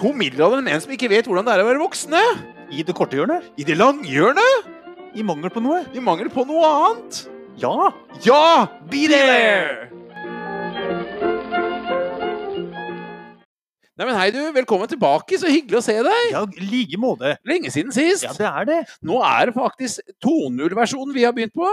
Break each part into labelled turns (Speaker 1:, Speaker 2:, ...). Speaker 1: To middelaldrende menn som ikke vet hvordan det er å være voksne.
Speaker 2: I det korte hjørnet?
Speaker 1: I det langhjørnet,
Speaker 2: I mangel på noe?
Speaker 1: i mangel på noe annet.
Speaker 2: Ja!
Speaker 1: Ja, be there! Nei, men hei du, velkommen tilbake. Så hyggelig å se deg.
Speaker 2: Ja, i like måte.
Speaker 1: Lenge siden sist.
Speaker 2: Ja, det er det.
Speaker 1: Nå er det faktisk 2.0-versjonen vi har begynt på.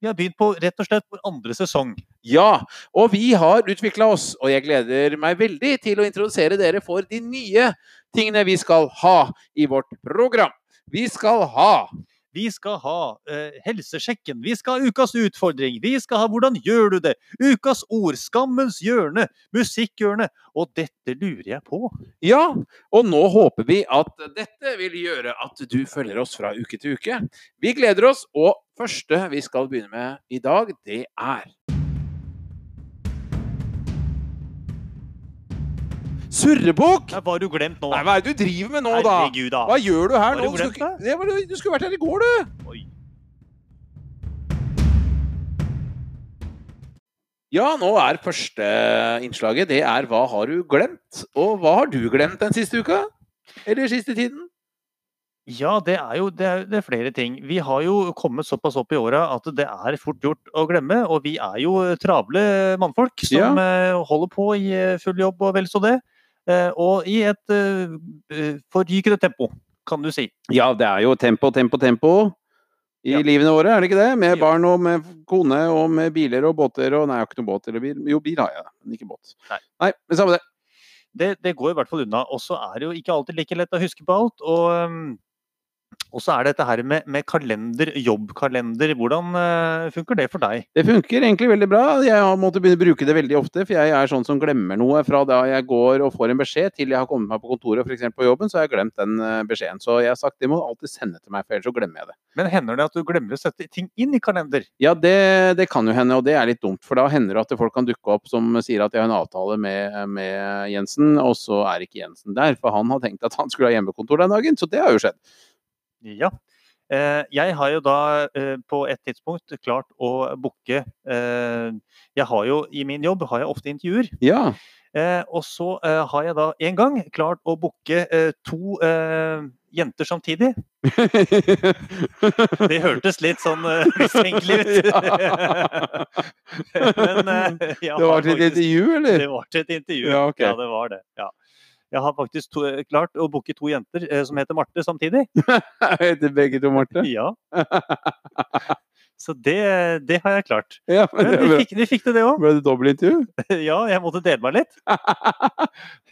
Speaker 2: Vi har begynt på rett og slett vår andre sesong.
Speaker 1: Ja, og vi har utvikla oss, og jeg gleder meg veldig til å introdusere dere for de nye tingene vi skal ha i vårt program. Vi skal ha
Speaker 2: Vi skal ha eh, helsesjekken, vi skal ha ukas utfordring, vi skal ha hvordan gjør du det, ukas ord, skammens hjørne, musikkhjørne. Og dette lurer jeg på.
Speaker 1: Ja, og nå håper vi at dette vil gjøre at du følger oss fra uke til uke. Vi gleder oss, og første vi skal begynne med i dag, det er Surrebukk!
Speaker 2: Nei, Hva har du glemt nå?
Speaker 1: Nei, hva er det du driver med nå, da?
Speaker 2: Herregud, da.
Speaker 1: Hva gjør du her
Speaker 2: Har
Speaker 1: nå?
Speaker 2: du
Speaker 1: Du skulle,
Speaker 2: glemt
Speaker 1: ikke- det var, det- du skulle vært her i går, du!
Speaker 2: Oi.
Speaker 1: Ja, nå er første innslaget. Det er Hva har du glemt? Og hva har du glemt den siste uka? Eller siste tiden?
Speaker 2: Ja, det er jo det er, det er flere ting. Vi har jo kommet såpass opp i åra at det er fort gjort å glemme. Og vi er jo travle mannfolk som eh, holder på i eh, full jobb og vel så det. eh, Og i et eh, eh, forrykende tempo, kan du si.
Speaker 1: Ja, det er jo tempo, tempo, tempo i
Speaker 2: Ja.
Speaker 1: livene våre, er det ikke det? Med
Speaker 2: Jo.
Speaker 1: barn og med kone og med biler og båter og Nei, jeg har ikke noe båt eller bil. Jo, bil har jeg, men ikke båt.
Speaker 2: Nei.
Speaker 1: Nei men samme det.
Speaker 2: Det, det går i hvert fall unna. Og så er det jo ikke alltid like lett å huske på alt. Og, ehm, og så er det dette her med, med kalender, jobbkalender. Hvordan eh, funker det for deg?
Speaker 1: Det funker egentlig veldig bra. Jeg har måttet begynne å bruke det veldig ofte, for jeg er sånn som glemmer noe fra da jeg går og får en beskjed til jeg har kommet meg på kontoret, f.eks. på jobben, så har jeg glemt den eh, beskjeden. Så jeg har sagt de må alltid sende til meg, for ellers så glemmer jeg det.
Speaker 2: Men hender det at du glemmer å sette ting inn i kalender?
Speaker 1: Ja, det, det kan jo hende, og det er litt dumt, for da hender det at folk kan dukke opp som sier at jeg har en avtale med, med Jensen, og så er ikke Jensen der, for han har tenkt at han skulle ha hjemmekontor den dagen, så det har jo skjedd.
Speaker 2: Ja. Eh, Jeg har jo da eh, på et tidspunkt klart å booke eh, Jeg har jo i min jobb har jeg ofte intervjuer.
Speaker 1: Ja.
Speaker 2: eh, Og så eh, har jeg da en gang klart å booke eh, to eh, jenter samtidig. Det hørtes litt sånn eh, mistenkelig ut. Men eh,
Speaker 1: Det
Speaker 2: jeg har
Speaker 1: var til et
Speaker 2: faktisk-
Speaker 1: intervju, eller?
Speaker 2: det var til et intervju.
Speaker 1: Ja, ok.
Speaker 2: ja, det var det. Ja. Jeg har faktisk to, eh, klart å booke to jenter eh, som heter Marte samtidig.
Speaker 1: Heter begge to Marte?
Speaker 2: Ja. Så det, det har jeg klart.
Speaker 1: Ja, men
Speaker 2: Men
Speaker 1: det er
Speaker 2: de
Speaker 1: bra.
Speaker 2: fikk, de fikk det, det òg.
Speaker 1: Ble det dobbeltintervju?
Speaker 2: Ja, jeg måtte dele meg litt.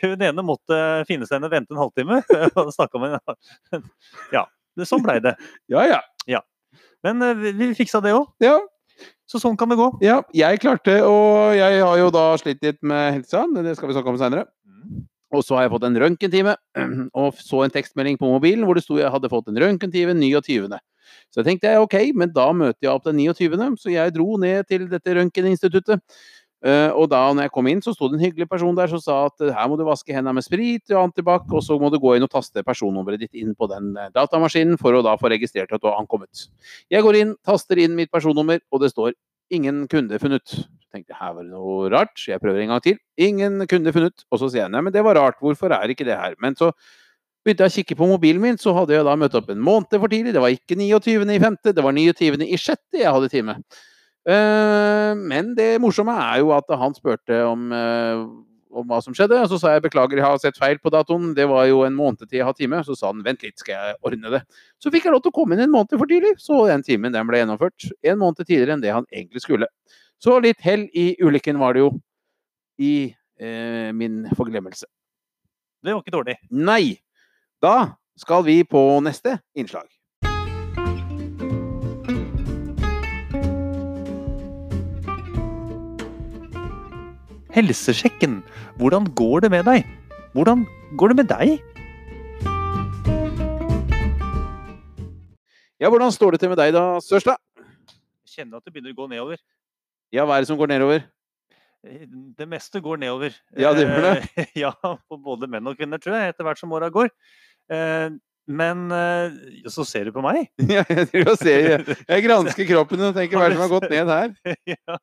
Speaker 2: Hun ene måtte finne seg en og vente en halvtime. og snakke om en... Ja, det, sånn blei det.
Speaker 1: Ja, ja.
Speaker 2: Men eh, vi vi fiksa det òg,
Speaker 1: ja.
Speaker 2: så sånn kan det gå.
Speaker 1: Ja, jeg klarte, og jeg har jo da slitt litt med helsa, men det skal vi snakke om seinere.
Speaker 2: Mm,
Speaker 1: Og så har jeg fått en røntgentime, og så en tekstmelding på mobilen hvor det sto jeg hadde fått en røntgentime 29. Så jeg tenkte jeg ok, men da møter jeg opp den 29., så jeg dro ned til dette røntgeninstituttet. Eh, og da når jeg kom inn, så sto det en hyggelig person der som sa at eh, her må du vaske hendene med sprit og antibac, og så må du gå inn og taste personnummeret ditt inn på den eh, datamaskinen for å da få registrert at du har ankommet. Jeg går inn, taster inn mitt personnummer, og det står 'ingen kunde funnet'. Så tenkte jeg, her var det noe rart, så jeg prøver en gang til. Ingen kunde funnet. Og så sier jeg nei, men det var rart, hvorfor er ikke det her? Men så begynte jeg å kikke på mobilen min, så hadde jeg da møtt opp en måned for tidlig. Det var ikke 29. i 5., det var 29. i 6. jeg hadde time. Eh, men det morsomme er jo at han spurte om, eh, om hva som skjedde, og så sa jeg beklager, jeg har sett feil på datoen, det var jo en måned til jeg har time. Så sa han vent litt, skal jeg ordne det. Så fikk jeg lov til å komme inn en måned for tidlig, så den timen den ble gjennomført. En måned tidligere enn det han egentlig skulle. Så litt hell i ulykken var det jo. I eh, min forglemmelse.
Speaker 2: Det var ikke dårlig.
Speaker 1: Nei! Da skal vi på neste innslag.
Speaker 2: Helsesjekken. Hvordan går det med deg? Hvordan går det med deg?
Speaker 1: Ja, hvordan står det til med deg da, Sørstad?
Speaker 2: Jeg kjenner at det begynner å gå nedover.
Speaker 1: Ja, hva er det som går nedover?
Speaker 2: Eh, Det meste går nedover.
Speaker 1: Ja, det gjør
Speaker 2: det. Ja, på både menn og kvinner, tror jeg, etter hvert som åra går. Eh, Men eh, så ser du på meg.
Speaker 1: Ja, jeg driver og ser Jeg gransker kroppen og tenker hva er det som har gått ned her?
Speaker 2: ja.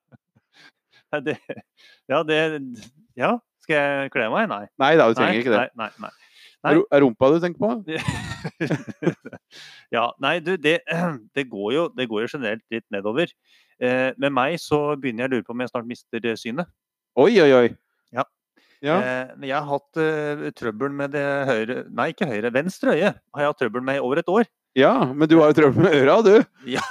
Speaker 2: Nei, det, ja, det Ja, skal jeg kle meg? Nei.
Speaker 1: Nei da, du
Speaker 2: nei,
Speaker 1: trenger ikke det.
Speaker 2: Nei, nei, nei. Nei.
Speaker 1: Ru- Er rumpa du tenker på?
Speaker 2: Ja, nei, du, det, det, går jo, det går jo generelt litt nedover. Eh, med meg så begynner jeg å lure på om jeg snart mister eh, synet.
Speaker 1: Oi, oi, oi.
Speaker 2: Ja.
Speaker 1: Ja.
Speaker 2: Eh, men jeg har hatt eh, trøbbel med det høyre Nei, ikke høyre. Venstre øye har jeg hatt trøbbel med i over et år.
Speaker 1: ja, men du har jo trøbbel med øra, du.
Speaker 2: ja,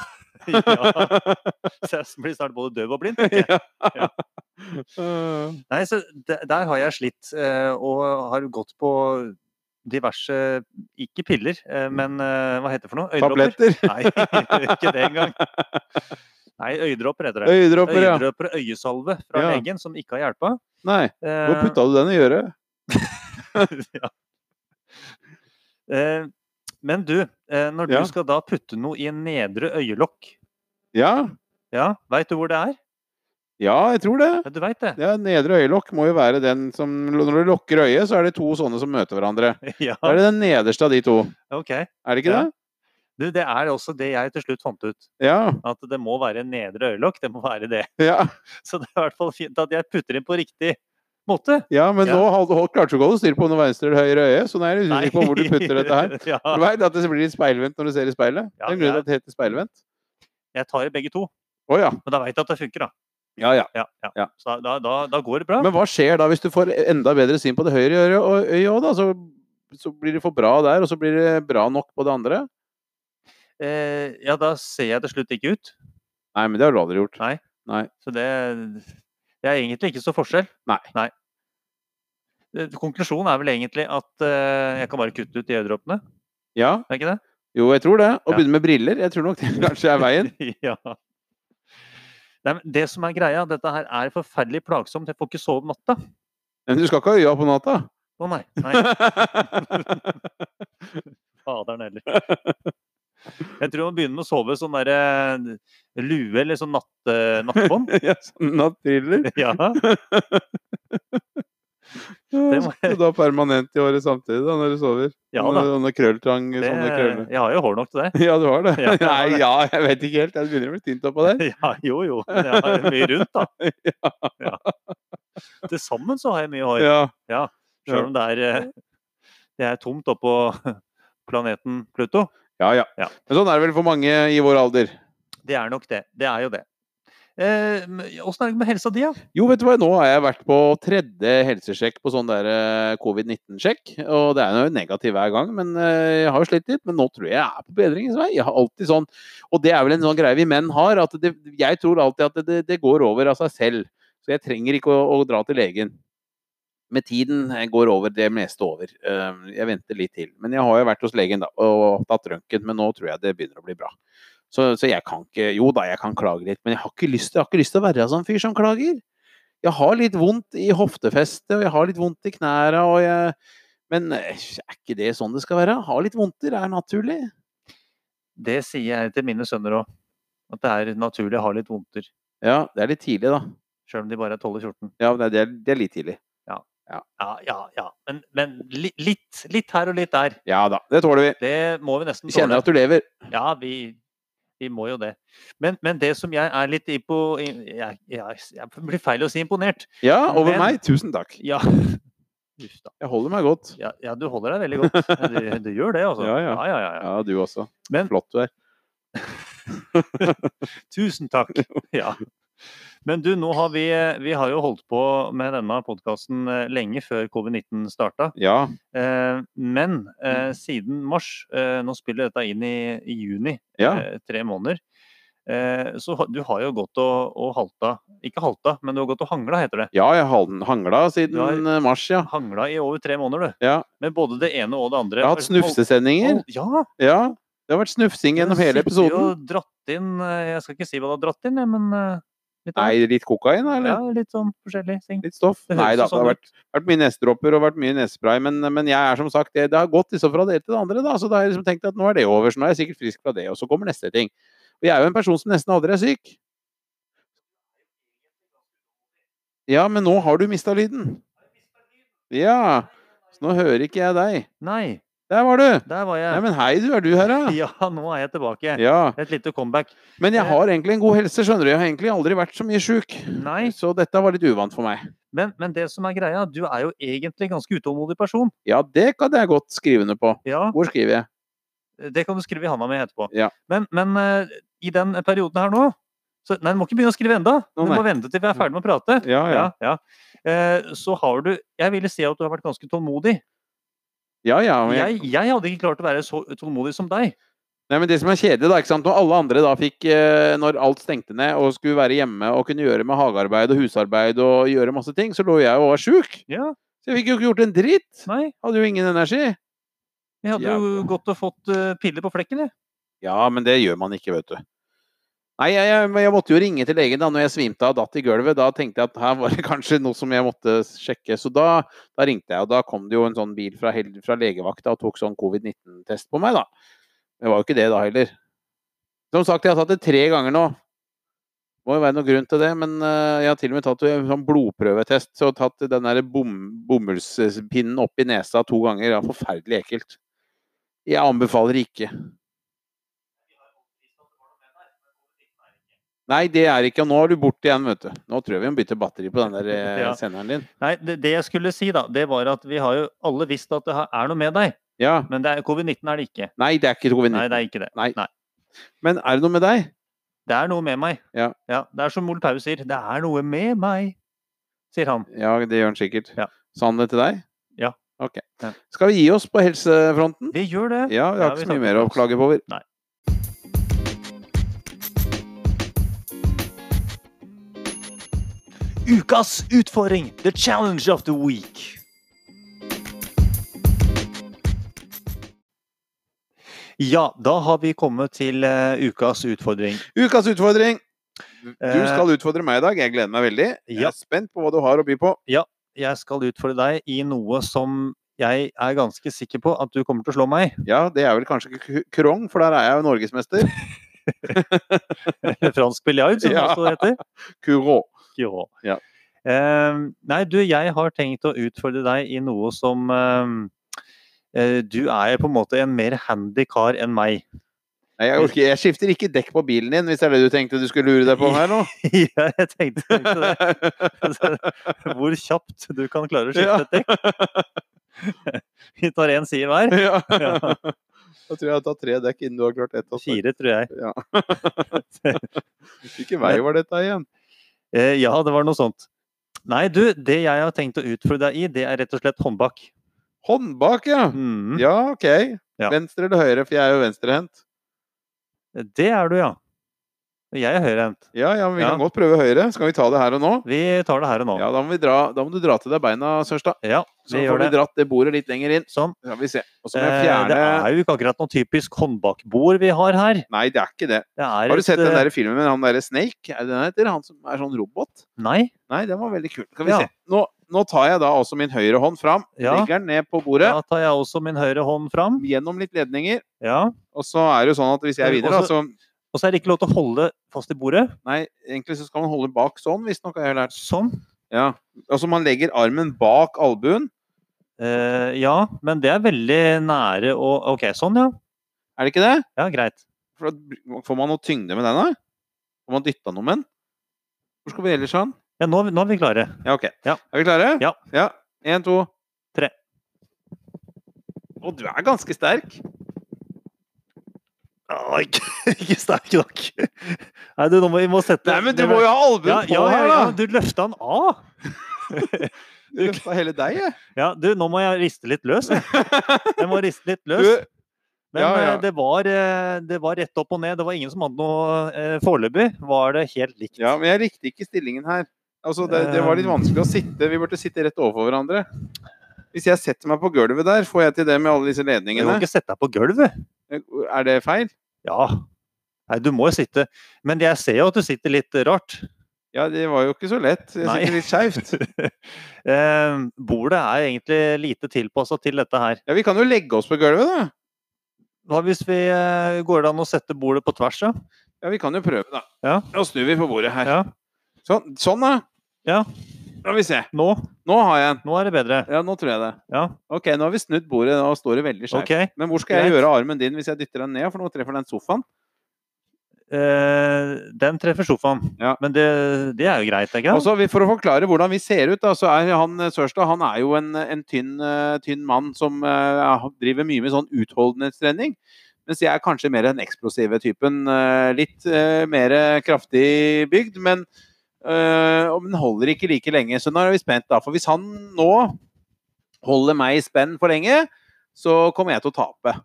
Speaker 2: så jeg blir snart både døv og blind. tenker jeg.
Speaker 1: Eh,
Speaker 2: Nei, så de- der har jeg slitt, eh, og har gått på diverse Ikke piller, eh, men eh, hva heter det for noe? Øyedråper?
Speaker 1: Mm. Tabletter.
Speaker 2: Nei, ikke det engang. Nei, øyedråper heter det.
Speaker 1: Øyedråper, ja.
Speaker 2: Øyedråper og øyesalve fra
Speaker 1: Ja.
Speaker 2: legen som ikke har hjelpa.
Speaker 1: Nei, hvor
Speaker 2: Eh.
Speaker 1: putta du den i øret?
Speaker 2: ja. Eh, Men du, eh, når du
Speaker 1: Ja.
Speaker 2: skal da putte noe i en nedre øyelokk,
Speaker 1: Ja,
Speaker 2: ja, veit du hvor det er?
Speaker 1: ja, jeg tror det.
Speaker 2: Ja, du veit det?
Speaker 1: Ja, Nedre øyelokk må jo være den som Når du lukker øyet, så er det to sånne som møter hverandre.
Speaker 2: Ja,
Speaker 1: Da er det den nederste av de to.
Speaker 2: OK.
Speaker 1: Er det ikke
Speaker 2: Ja.
Speaker 1: det?
Speaker 2: Du, det er også det jeg til slutt fant ut.
Speaker 1: Ja.
Speaker 2: At det må være en nedre øyelokk. Det må være det.
Speaker 1: Ja,
Speaker 2: Så det er i hvert fall fint at jeg putter inn på riktig måte.
Speaker 1: ja men
Speaker 2: Ja.
Speaker 1: nå hold- hold- klarte du ikke å holde styr på om det var venstre eller høyre øye, så nå er jeg usikker på hvor du putter dette her.
Speaker 2: ja,
Speaker 1: Du vet at det blir litt speilvendt når du ser i speilet?
Speaker 2: Ja,
Speaker 1: det er en grunn
Speaker 2: ja.
Speaker 1: til at det heter speilvendt.
Speaker 2: jeg tar i begge to,
Speaker 1: Å ja.
Speaker 2: men da veit jeg at det funker, da.
Speaker 1: Ja, ja.
Speaker 2: Ja, ja.
Speaker 1: Ja.
Speaker 2: Så da, da, da går det bra.
Speaker 1: Men hva skjer da hvis du får enda bedre syn på det høyre øret og- øyet òg, da? Så, så blir det for bra der, og så blir det bra nok på det andre?
Speaker 2: Eh, ja, da ser jeg til slutt ikke ut.
Speaker 1: Nei, men det har du aldri gjort.
Speaker 2: Så det Det er egentlig ikke så forskjell.
Speaker 1: Nei.
Speaker 2: Eh, Konklusjonen er vel egentlig at eh, jeg kan bare kutte ut de øyedråpene,
Speaker 1: Ja,
Speaker 2: er ikke det?
Speaker 1: jo, jeg tror det. Å
Speaker 2: Ja.
Speaker 1: begynne med briller, jeg tror nok det kanskje er veien.
Speaker 2: ja. Nei, men det som er greia, dette her er forferdelig plagsomt. Jeg får ikke sove om natta.
Speaker 1: Men du skal ikke ha øya på natta.
Speaker 2: Å nei. nei. Faderen heller. Jeg tror man begynner med å sove sånn derre lue eller sånn natt, nattbånd.
Speaker 1: ja, sånn Nattbriller.
Speaker 2: Ja.
Speaker 1: Ja,
Speaker 2: må
Speaker 1: Skal du ha permanent i håret samtidig da, når du sover?
Speaker 2: ja da.
Speaker 1: Sånne- Sånne krølltang,
Speaker 2: Det,
Speaker 1: sånne krøller.
Speaker 2: jeg har jo hår nok til det.
Speaker 1: Ja, du har det?
Speaker 2: Ja, jeg har
Speaker 1: Nei,
Speaker 2: det.
Speaker 1: ja, jeg vet ikke helt. Jeg begynner å bli tynt oppå der.
Speaker 2: Ja, jo, jo. Men Jeg har mye rundt, da. Ja. Til sammen så har jeg mye hår.
Speaker 1: Ja.
Speaker 2: Sjøl om det er, eh, det er tomt oppå planeten Pluto.
Speaker 1: Ja, ja,
Speaker 2: Ja.
Speaker 1: Men sånn er det vel for mange i vår alder.
Speaker 2: Det er nok det. Det er jo det. Eh, Åssen er det med helsa di, da?
Speaker 1: Jo, vet du hva, nå har jeg vært på tredje helsesjekk på sånn der eh, covid-19-sjekk. Og det er jo negativ hver gang, men eh, jeg har jo slitt litt. Men nå tror jeg jeg er på bedringens vei. Jeg har alltid sånn, Og det er vel en sånn greie vi menn har, at det, jeg tror alltid at det, det, det går over av seg selv. Så jeg trenger ikke å, å dra til legen. Med tiden eh, går over det meste over. Eh, Jeg venter litt til. Men jeg har jo vært hos legen da, og tatt røntgen, men nå tror jeg det begynner å bli bra. Så, så jeg kan ikke Jo da, jeg kan klage litt, men jeg har ikke lyst, jeg har ikke lyst til å være sånn fyr som klager jeg har litt vondt i hoftefestet, og jeg har litt vondt i knæra, og jeg Men eh, er ikke det sånn det skal være? Ha litt vondter er naturlig.
Speaker 2: Det sier jeg til mine sønner òg. At det er naturlig å ha litt vondter.
Speaker 1: Ja, det er litt tidlig, da.
Speaker 2: Sjøl om de bare er 12 og 14.
Speaker 1: Ja, det er- det er, det er litt tidlig.
Speaker 2: Ja, ja, ja. Men, men li, litt, litt her og litt der.
Speaker 1: Ja da, det tåler vi.
Speaker 2: Det må vi nesten
Speaker 1: Vi kjenner at du lever.
Speaker 2: Ja, vi, vi må jo det. Men, men det som jeg er litt impo... Jeg, jeg, jeg blir feil å si imponert.
Speaker 1: Ja, over
Speaker 2: Men-
Speaker 1: meg. Tusen takk.
Speaker 2: Ja, Uff da.
Speaker 1: Jeg holder meg godt.
Speaker 2: Ja, ja, du holder deg veldig godt. Ja, Du, du gjør det, altså.
Speaker 1: Ja, ja.
Speaker 2: ja, ja, ja.
Speaker 1: Ja, du også.
Speaker 2: Men-
Speaker 1: Flott du er.
Speaker 2: Tusen takk. Ja. Men du, nå har vi, vi har jo holdt på med denne podkasten lenge før covid-19 starta.
Speaker 1: Ja.
Speaker 2: Eh, Men
Speaker 1: Mm.
Speaker 2: eh, siden mars, eh, nå spiller dette inn i, i juni,
Speaker 1: Ja.
Speaker 2: eh, tre måneder. Eh, Så ha- du har jo gått og, og halta Ikke halta, men du har gått og hangla, heter det.
Speaker 1: Ja, jeg har den hangla siden
Speaker 2: Du har-
Speaker 1: eh, mars, ja.
Speaker 2: Hangla i over tre måneder, du.
Speaker 1: Ja.
Speaker 2: Med både det ene og det andre.
Speaker 1: Jeg har hatt snufsesendinger.
Speaker 2: Hold- Ja!
Speaker 1: Ja. Det har vært snufsing gjennom
Speaker 2: du
Speaker 1: hele
Speaker 2: sitter jo
Speaker 1: episoden.
Speaker 2: Og dratt inn, eh, jeg skal ikke si hva du har dratt inn, jeg, men eh, litt, av-
Speaker 1: Nei, litt kokain, da,
Speaker 2: ja,
Speaker 1: eller?
Speaker 2: litt sånn forskjellige ting.
Speaker 1: Litt stoff?
Speaker 2: Det
Speaker 1: Nei da,
Speaker 2: høres jo
Speaker 1: det har
Speaker 2: sånn
Speaker 1: vært vært mye nesdråper og vært mye nesespray, men, men jeg er som sagt Det, det har gått liksom fra det til det andre, da. Så da har jeg liksom tenkt at nå er det over, så nå er jeg sikkert frisk fra det. Og så kommer neste ting. Og jeg er jo en person som nesten aldri er syk. Ja, men nå har du mista lyden. Ja. Så nå hører ikke jeg deg.
Speaker 2: Nei.
Speaker 1: Der var du!
Speaker 2: Der var
Speaker 1: Nei,
Speaker 2: jeg.
Speaker 1: men hei, du. Er du her, da?
Speaker 2: Ja, nå er jeg tilbake.
Speaker 1: Ja.
Speaker 2: Et lite comeback.
Speaker 1: Men jeg har egentlig en god helse, skjønner du. Jeg har egentlig aldri vært så mye sjuk.
Speaker 2: Nei,
Speaker 1: Så dette var litt uvant for meg.
Speaker 2: men, men det som er greia, du er jo egentlig en ganske utålmodig person.
Speaker 1: Ja, det kan jeg godt skrive under på.
Speaker 2: Ja,
Speaker 1: Hvor skriver jeg?
Speaker 2: Det kan du skrive i handa mi etterpå.
Speaker 1: Ja.
Speaker 2: Men, men eh, i den perioden her nå så, Nei, du må ikke begynne å skrive enda.
Speaker 1: Å,
Speaker 2: Du må vente til vi er ferdig med å prate.
Speaker 1: Ja, ja.
Speaker 2: Ja, ja. Eh, så har du Jeg ville si at du har vært ganske tålmodig.
Speaker 1: Ja, ja. Men jeg...
Speaker 2: Jeg, jeg hadde ikke klart å være så tålmodig som deg.
Speaker 1: Nei, men det som er kjedelig, da, ikke sant? når alle andre da fikk eh, Når alt stengte ned og skulle være hjemme og kunne gjøre med hagearbeid og husarbeid og gjøre masse ting, så lå jeg og var sjuk.
Speaker 2: Ja,
Speaker 1: Så jeg fikk jo ikke gjort en dritt.
Speaker 2: nei.
Speaker 1: Hadde jo ingen energi.
Speaker 2: Jeg hadde jo gått og fått eh, piller på flekken, jeg.
Speaker 1: Ja, men det gjør man ikke, vet du. Nei, jeg, jeg, men jeg måtte jo ringe til legen da når jeg svimte av og datt i gulvet. Da tenkte jeg at her var det kanskje noe som jeg måtte sjekke. Så da, da ringte jeg, og da kom det jo en sånn bil fra, hel- fra legevakta og tok sånn covid-19-test på meg, da. Det var jo ikke det da heller. Som sagt, jeg har tatt det tre ganger nå. Må jo være noen grunn til det, men eh, jeg har til og med tatt en sånn blodprøvetest. Så tatt den der bom, bomullspinnen opp i nesa to ganger. Det var forferdelig ekkelt. Jeg anbefaler ikke. Nei, det er ikke. Og nå er du borte igjen, vet du. Nå tror jeg vi må bytte batteri på den der eh,
Speaker 2: Ja.
Speaker 1: senderen din.
Speaker 2: Nei, det, det jeg skulle si, da, det var at vi har jo alle visst at det her er noe med deg.
Speaker 1: Ja.
Speaker 2: Men det er covid-19 er det ikke.
Speaker 1: Nei, det er ikke
Speaker 2: Nei,
Speaker 1: covid-19.
Speaker 2: det er ikke det.
Speaker 1: Men er det noe med deg?
Speaker 2: Det er noe med meg.
Speaker 1: Ja.
Speaker 2: det er som Ole Paus sier. Det er noe med meg, sier han.
Speaker 1: Ja, det gjør han sikkert.
Speaker 2: Ja.
Speaker 1: Sa han det til deg?
Speaker 2: Ja.
Speaker 1: Ok.
Speaker 2: Ja.
Speaker 1: Skal vi gi oss på helsefronten?
Speaker 2: Vi gjør det.
Speaker 1: Ja, vi
Speaker 2: Ja,
Speaker 1: har
Speaker 2: vi
Speaker 1: ikke så mye
Speaker 2: snakker
Speaker 1: mer å
Speaker 2: om oss.
Speaker 1: klage på. over.
Speaker 2: Nei. Ukas utfordring! The challenge of the week. Ja, da har vi kommet til eh, ukas utfordring.
Speaker 1: Ukas utfordring! Du
Speaker 2: Eh.
Speaker 1: skal utfordre meg i dag. Jeg gleder meg veldig. Jeg
Speaker 2: Ja.
Speaker 1: er spent på hva du har å by på.
Speaker 2: Jeg skal utfordre deg i noe som jeg er ganske sikker på at du kommer til å slå meg i.
Speaker 1: Ja, det er vel kanskje ikke k- krong, for der er jeg jo norgesmester.
Speaker 2: Fransk biljard, som det
Speaker 1: Ja.
Speaker 2: også heter.
Speaker 1: Kuro.
Speaker 2: Jo.
Speaker 1: Ja.
Speaker 2: Ehm, nei, du, jeg har tenkt å utfordre deg i noe som ehm, eh, Du er på en måte en mer handy kar enn meg.
Speaker 1: Nei, jeg, orker, jeg skifter ikke dekk på bilen din, hvis det er det du tenkte du skulle lure deg på her nå.
Speaker 2: ja, jeg tenkte, tenkte det. Altså, Hvor kjapt du kan klare å
Speaker 1: Ja.
Speaker 2: skifte et dekk. Vi tar én side hver.
Speaker 1: Ja.
Speaker 2: Ja.
Speaker 1: Da tror jeg jeg har tatt tre dekk innen du har klart ett. altså.
Speaker 2: Fire, tror jeg.
Speaker 1: Ja. Hvilken vei var dette igjen?
Speaker 2: Eh, ja, det var noe sånt. Nei, du, det jeg har tenkt å utfordre deg i, det er rett og slett håndbak.
Speaker 1: Håndbak, ja.
Speaker 2: Mm,
Speaker 1: Ja, OK.
Speaker 2: Ja.
Speaker 1: Venstre eller høyre, for jeg er jo venstrehendt.
Speaker 2: Det er du, ja. Jeg er høyrehendt.
Speaker 1: Ja, ja, men vi
Speaker 2: Ja.
Speaker 1: kan godt prøve høyre. Skal vi ta det her og nå?
Speaker 2: Vi tar det her og nå.
Speaker 1: Ja, da må, vi dra, da må du dra til deg beina, Sørstad.
Speaker 2: Ja,
Speaker 1: Så
Speaker 2: vi
Speaker 1: får
Speaker 2: gjør
Speaker 1: du
Speaker 2: det.
Speaker 1: dratt det bordet litt lenger inn.
Speaker 2: Sånn.
Speaker 1: Så skal vi se. Og så må jeg
Speaker 2: Eh, Det
Speaker 1: fjerne
Speaker 2: er jo ikke akkurat noe typisk håndbakbord vi har her.
Speaker 1: Nei, det er ikke det.
Speaker 2: Det er
Speaker 1: Har du
Speaker 2: et,
Speaker 1: sett den
Speaker 2: eh,
Speaker 1: der filmen med han derre Snake? Er det den heter? Han som er sånn robot?
Speaker 2: Nei.
Speaker 1: Nei, den var veldig kul. Skal vi
Speaker 2: Ja.
Speaker 1: se. Nå, nå tar jeg da også min høyre hånd fram.
Speaker 2: Ja.
Speaker 1: Legger den ned på bordet.
Speaker 2: Da tar jeg også min høyre hånd fram.
Speaker 1: Gjennom litt ledninger.
Speaker 2: Ja.
Speaker 1: Og så er det jo sånn at hvis jeg
Speaker 2: Men
Speaker 1: vinner, da,
Speaker 2: også-
Speaker 1: så
Speaker 2: Og så er det ikke lov til å holde fast i bordet.
Speaker 1: Nei, egentlig så skal man holde bak sånn, visstnok har jeg lært.
Speaker 2: Sånn.
Speaker 1: Ja. Altså man legger armen bak albuen.
Speaker 2: Eh, ja, men det er veldig nære å OK, sånn, ja.
Speaker 1: Er det ikke det?
Speaker 2: Ja, greit.
Speaker 1: For da får man noe tyngde med den, da? Får man dytta noe med den? Hvor skal vi ellers ha den?
Speaker 2: Ja, nå, nå er vi klare.
Speaker 1: Ja, OK.
Speaker 2: Ja.
Speaker 1: Er vi klare?
Speaker 2: Ja.
Speaker 1: ja. En, to
Speaker 2: Tre.
Speaker 1: Å, du er ganske sterk.
Speaker 2: Ah, ikke, ikke sterk nok. Nei, du, nå må vi må sette
Speaker 1: Nei, men du må jo ha albuen
Speaker 2: ja,
Speaker 1: på
Speaker 2: ja, ja,
Speaker 1: her,
Speaker 2: ja,
Speaker 1: da!
Speaker 2: du løfta den av.
Speaker 1: Du løfta hele deg, jeg.
Speaker 2: Ja, du, nå må jeg riste litt løs. jeg. Jeg må riste litt løs.
Speaker 1: Du,
Speaker 2: Men
Speaker 1: Ja, ja.
Speaker 2: eh, Det, var, eh, det var rett opp og ned. Det var ingen som hadde noe eh, Foreløpig var det helt likt.
Speaker 1: ja, men jeg likte ikke stillingen her. Altså, det, det var litt
Speaker 2: Um.
Speaker 1: vanskelig å sitte. Vi burde sitte rett overfor hverandre. Hvis jeg setter meg på gulvet der, får jeg til det med alle disse
Speaker 2: du kan
Speaker 1: ledningene?
Speaker 2: ikke sette deg på gulvet.
Speaker 1: Er det feil?
Speaker 2: Ja. Nei, du må jo sitte. Men jeg ser jo at du sitter litt rart.
Speaker 1: Ja, det var jo ikke så lett. Jeg
Speaker 2: Nei.
Speaker 1: sitter litt skeivt.
Speaker 2: Eh, bordet er egentlig lite tilpassa til dette her.
Speaker 1: Ja, vi kan jo legge oss på gulvet, da.
Speaker 2: Hva hvis vi eh, Går det an å sette bordet på tvers, da?
Speaker 1: Ja, vi kan jo prøve, da.
Speaker 2: Ja.
Speaker 1: Nå snur vi på bordet her.
Speaker 2: Ja.
Speaker 1: Sånn, sånn da.
Speaker 2: Ja.
Speaker 1: Skal vi se.
Speaker 2: Nå,
Speaker 1: Nå har jeg en.
Speaker 2: nå er det bedre.
Speaker 1: Ja, nå tror jeg det.
Speaker 2: Ja.
Speaker 1: Ok, nå har vi snudd bordet. Nå står det veldig skjevt.
Speaker 2: Ok.
Speaker 1: Men hvor skal jeg
Speaker 2: Greit.
Speaker 1: gjøre av armen din hvis jeg dytter den ned? For nå treffer den sofaen.
Speaker 2: Eh, den treffer sofaen.
Speaker 1: Ja.
Speaker 2: Men det, det er jo greit, ikke
Speaker 1: Og
Speaker 2: sant?
Speaker 1: så vi- For å forklare hvordan vi ser ut, da, så er han eh, Sørstad han er jo en, en tynn, eh, tynn mann som eh, ja, driver mye med sånn utholdenhetstrening. Mens jeg er kanskje mer den eksplosive typen. eh, Litt eh, mer kraftig bygd, men eh, og den holder ikke like lenge. Så nå er vi spent, da. For hvis han nå holder meg i spenn for lenge, så kommer jeg til å tape.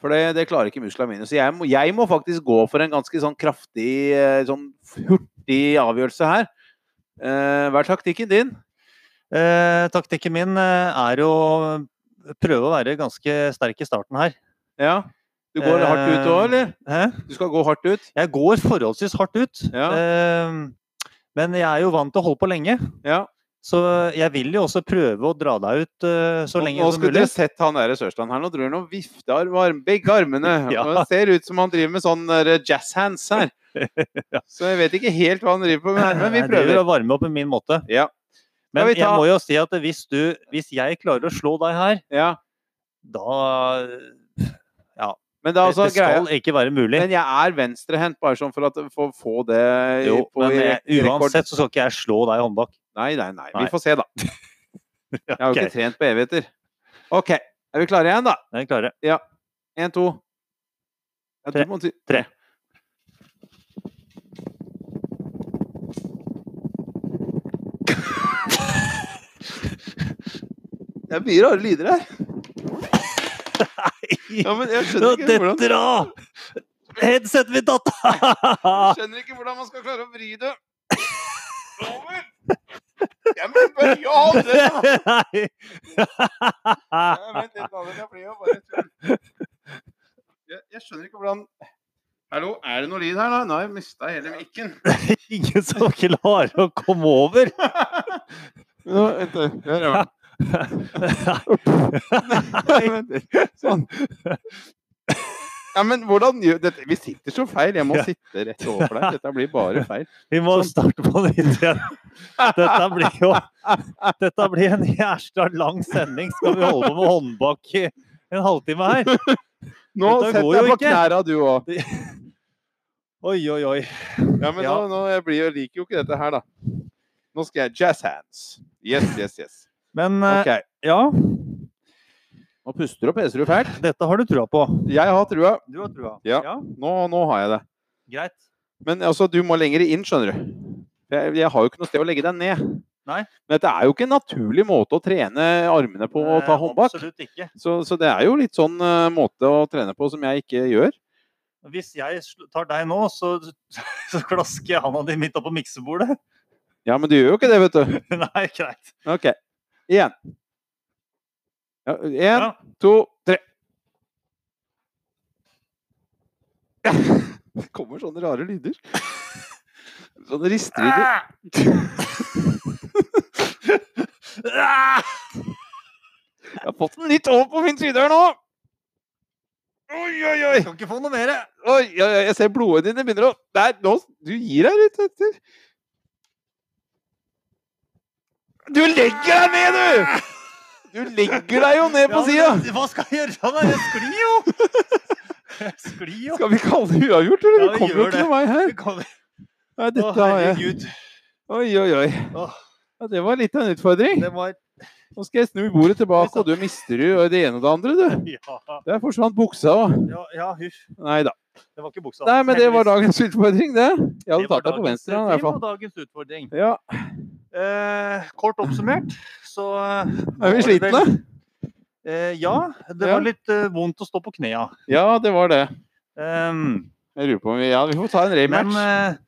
Speaker 1: For det, det klarer ikke musklene mine. Så jeg må, jeg må faktisk gå for en ganske sånn kraftig, eh, sånn hurtig avgjørelse her. Eh, hva er taktikken din?
Speaker 2: Eh, taktikken min eh, er å prøve å være ganske sterk i starten her.
Speaker 1: Ja. Du
Speaker 2: Eh,
Speaker 1: går hardt ut òg, eller?
Speaker 2: Hæ?
Speaker 1: Du skal gå hardt ut?
Speaker 2: Jeg går forholdsvis hardt ut,
Speaker 1: Ja.
Speaker 2: eh, men jeg er jo vant til å holde på lenge.
Speaker 1: Ja.
Speaker 2: Så jeg vil jo også prøve å dra deg ut eh, så
Speaker 1: Nå-
Speaker 2: lenge
Speaker 1: nå
Speaker 2: som
Speaker 1: skulle
Speaker 2: mulig.
Speaker 1: dere sett han der i Sørstrand her. Nå tror jeg han vifter med arm- begge armene.
Speaker 2: Ja.
Speaker 1: Og Det ser ut som han driver med sånn der jazz hands her.
Speaker 2: Ja.
Speaker 1: Så jeg vet ikke helt hva han driver på med her, men vi
Speaker 2: Jeg
Speaker 1: prøver.
Speaker 2: å varme opp på min måte.
Speaker 1: Ja.
Speaker 2: Men
Speaker 1: Skal vi ta-
Speaker 2: jeg må jo si at hvis, du, hvis jeg klarer å slå deg her,
Speaker 1: Ja.
Speaker 2: da
Speaker 1: Men det er altså
Speaker 2: Det
Speaker 1: greia
Speaker 2: skal ikke være mulig.
Speaker 1: Men jeg er venstrehendt, bare sånn for, at, for å få det i-
Speaker 2: Jo,
Speaker 1: på
Speaker 2: men
Speaker 1: i- i
Speaker 2: jeg,
Speaker 1: rekord.
Speaker 2: uansett så skal ikke jeg slå deg i håndbak.
Speaker 1: Nei, nei, nei. Vi
Speaker 2: Nei.
Speaker 1: får se, da. Jeg har jo
Speaker 2: Ok,
Speaker 1: ikke trent på evigheter. OK. Er vi klare igjen, da?
Speaker 2: den klarer jeg.
Speaker 1: Én, to ja,
Speaker 2: Tre.
Speaker 1: du må ty-
Speaker 2: Tre.
Speaker 1: Det er mye rare lyder her. Ja, men jeg skjønner ikke hvordan
Speaker 2: Dette, da! Headsetet mitt datt av!
Speaker 1: Jeg skjønner ikke hvordan man skal klare å vri det over. Jeg må bare ja, det da.
Speaker 2: Nei.
Speaker 1: Ja, vent litt, da, det blir jo bare tull. Jeg, jeg skjønner ikke hvordan Hallo, er det noe lyd her, da? Nå har jeg mista hele mikken.
Speaker 2: Ingen som klarer å komme over.
Speaker 1: Nå, vent, litt. Der er den. Vent litt. Sånn. Ja, men hvordan gjør dette? Vi sitter så feil. Jeg må
Speaker 2: Ja.
Speaker 1: sitte rett overfor deg. Dette blir bare feil.
Speaker 2: Vi må starte på nytt igjen. Dette blir jo Dette blir en jævla lang sending. Skal vi holde på med håndbak i en halvtime her?
Speaker 1: Nå
Speaker 2: Dette
Speaker 1: setter
Speaker 2: går jo
Speaker 1: jeg på
Speaker 2: ikke.
Speaker 1: knæra, du òg.
Speaker 2: Oi, oi, oi.
Speaker 1: Ja, men
Speaker 2: Ja.
Speaker 1: Nå, nå, jeg, blir, jeg liker jo ikke dette her, da. Nå skal jeg jazz hands. Yes, yes, yes.
Speaker 2: Men eh,
Speaker 1: Ok.
Speaker 2: ja,
Speaker 1: Nå puster og peser du fælt.
Speaker 2: dette har du trua på.
Speaker 1: Jeg har trua.
Speaker 2: Du har trua?
Speaker 1: Ja. Nå, nå har jeg det.
Speaker 2: Greit.
Speaker 1: Men altså, du må lenger inn, skjønner du. Jeg, jeg har jo ikke noe sted å legge deg ned.
Speaker 2: Nei.
Speaker 1: Men dette er jo ikke en naturlig måte å trene armene på å ta
Speaker 2: Eh,
Speaker 1: håndbak.
Speaker 2: Absolutt ikke.
Speaker 1: Så, så det er jo litt sånn eh, måte å trene på som jeg ikke gjør.
Speaker 2: Hvis jeg sl- tar deg nå, så, så klasker jeg handa di midt oppå miksebordet.
Speaker 1: Ja, men du gjør jo ikke det, vet du.
Speaker 2: Nei, greit.
Speaker 1: OK. Igjen. Ja, en,
Speaker 2: Ja.
Speaker 1: to, tre. Det kommer sånne rare lyder. Sånne ristelyder.
Speaker 2: Ah!
Speaker 1: Jeg har fått den litt over på min side her nå. Oi, oi, oi.
Speaker 2: Jeg kan ikke få noe mer. jeg.
Speaker 1: Oi, oi, oi, jeg ser blodet dine begynner å Der, nå Du gir deg litt etter. Du legger deg ned, du! Du legger deg jo ned på
Speaker 2: Ja,
Speaker 1: sida.
Speaker 2: men Hva skal jeg gjøre da? Jeg sklir jo! Jeg sklir jo.
Speaker 1: Skal vi kalle det uavgjort, eller?
Speaker 2: Ja,
Speaker 1: Vi
Speaker 2: vi
Speaker 1: kommer jo
Speaker 2: gjør
Speaker 1: ikke noen vei her. Nei,
Speaker 2: Å,
Speaker 1: dette har jeg.
Speaker 2: herregud.
Speaker 1: Oi, oi, oi.
Speaker 2: Åh,
Speaker 1: Ja, det var litt av en utfordring.
Speaker 2: det var
Speaker 1: Nå skal jeg snu bordet tilbake, og du mister jo det ene og det andre, du.
Speaker 2: Ja,
Speaker 1: Der forsvant buksa òg.
Speaker 2: ja, ja huff.
Speaker 1: Nei da.
Speaker 2: Det var ikke buksa.
Speaker 1: Nei, men det var
Speaker 2: heldigvis.
Speaker 1: dagens utfordring, det. Jeg hadde
Speaker 2: Det var
Speaker 1: tatt deg på
Speaker 2: dagens-
Speaker 1: venstre i hvert
Speaker 2: Det
Speaker 1: fall.
Speaker 2: var dagens utfordring.
Speaker 1: Ja,
Speaker 2: Eh, kort oppsummert, så
Speaker 1: Er vi slitne?
Speaker 2: Eh, ja. Det
Speaker 1: Ja.
Speaker 2: var litt eh, vondt å stå på knea.
Speaker 1: Ja, det var det.
Speaker 2: Ehm,
Speaker 1: Jeg lurer på om vi Ja, vi får ta en
Speaker 2: men
Speaker 1: rematch.
Speaker 2: eh,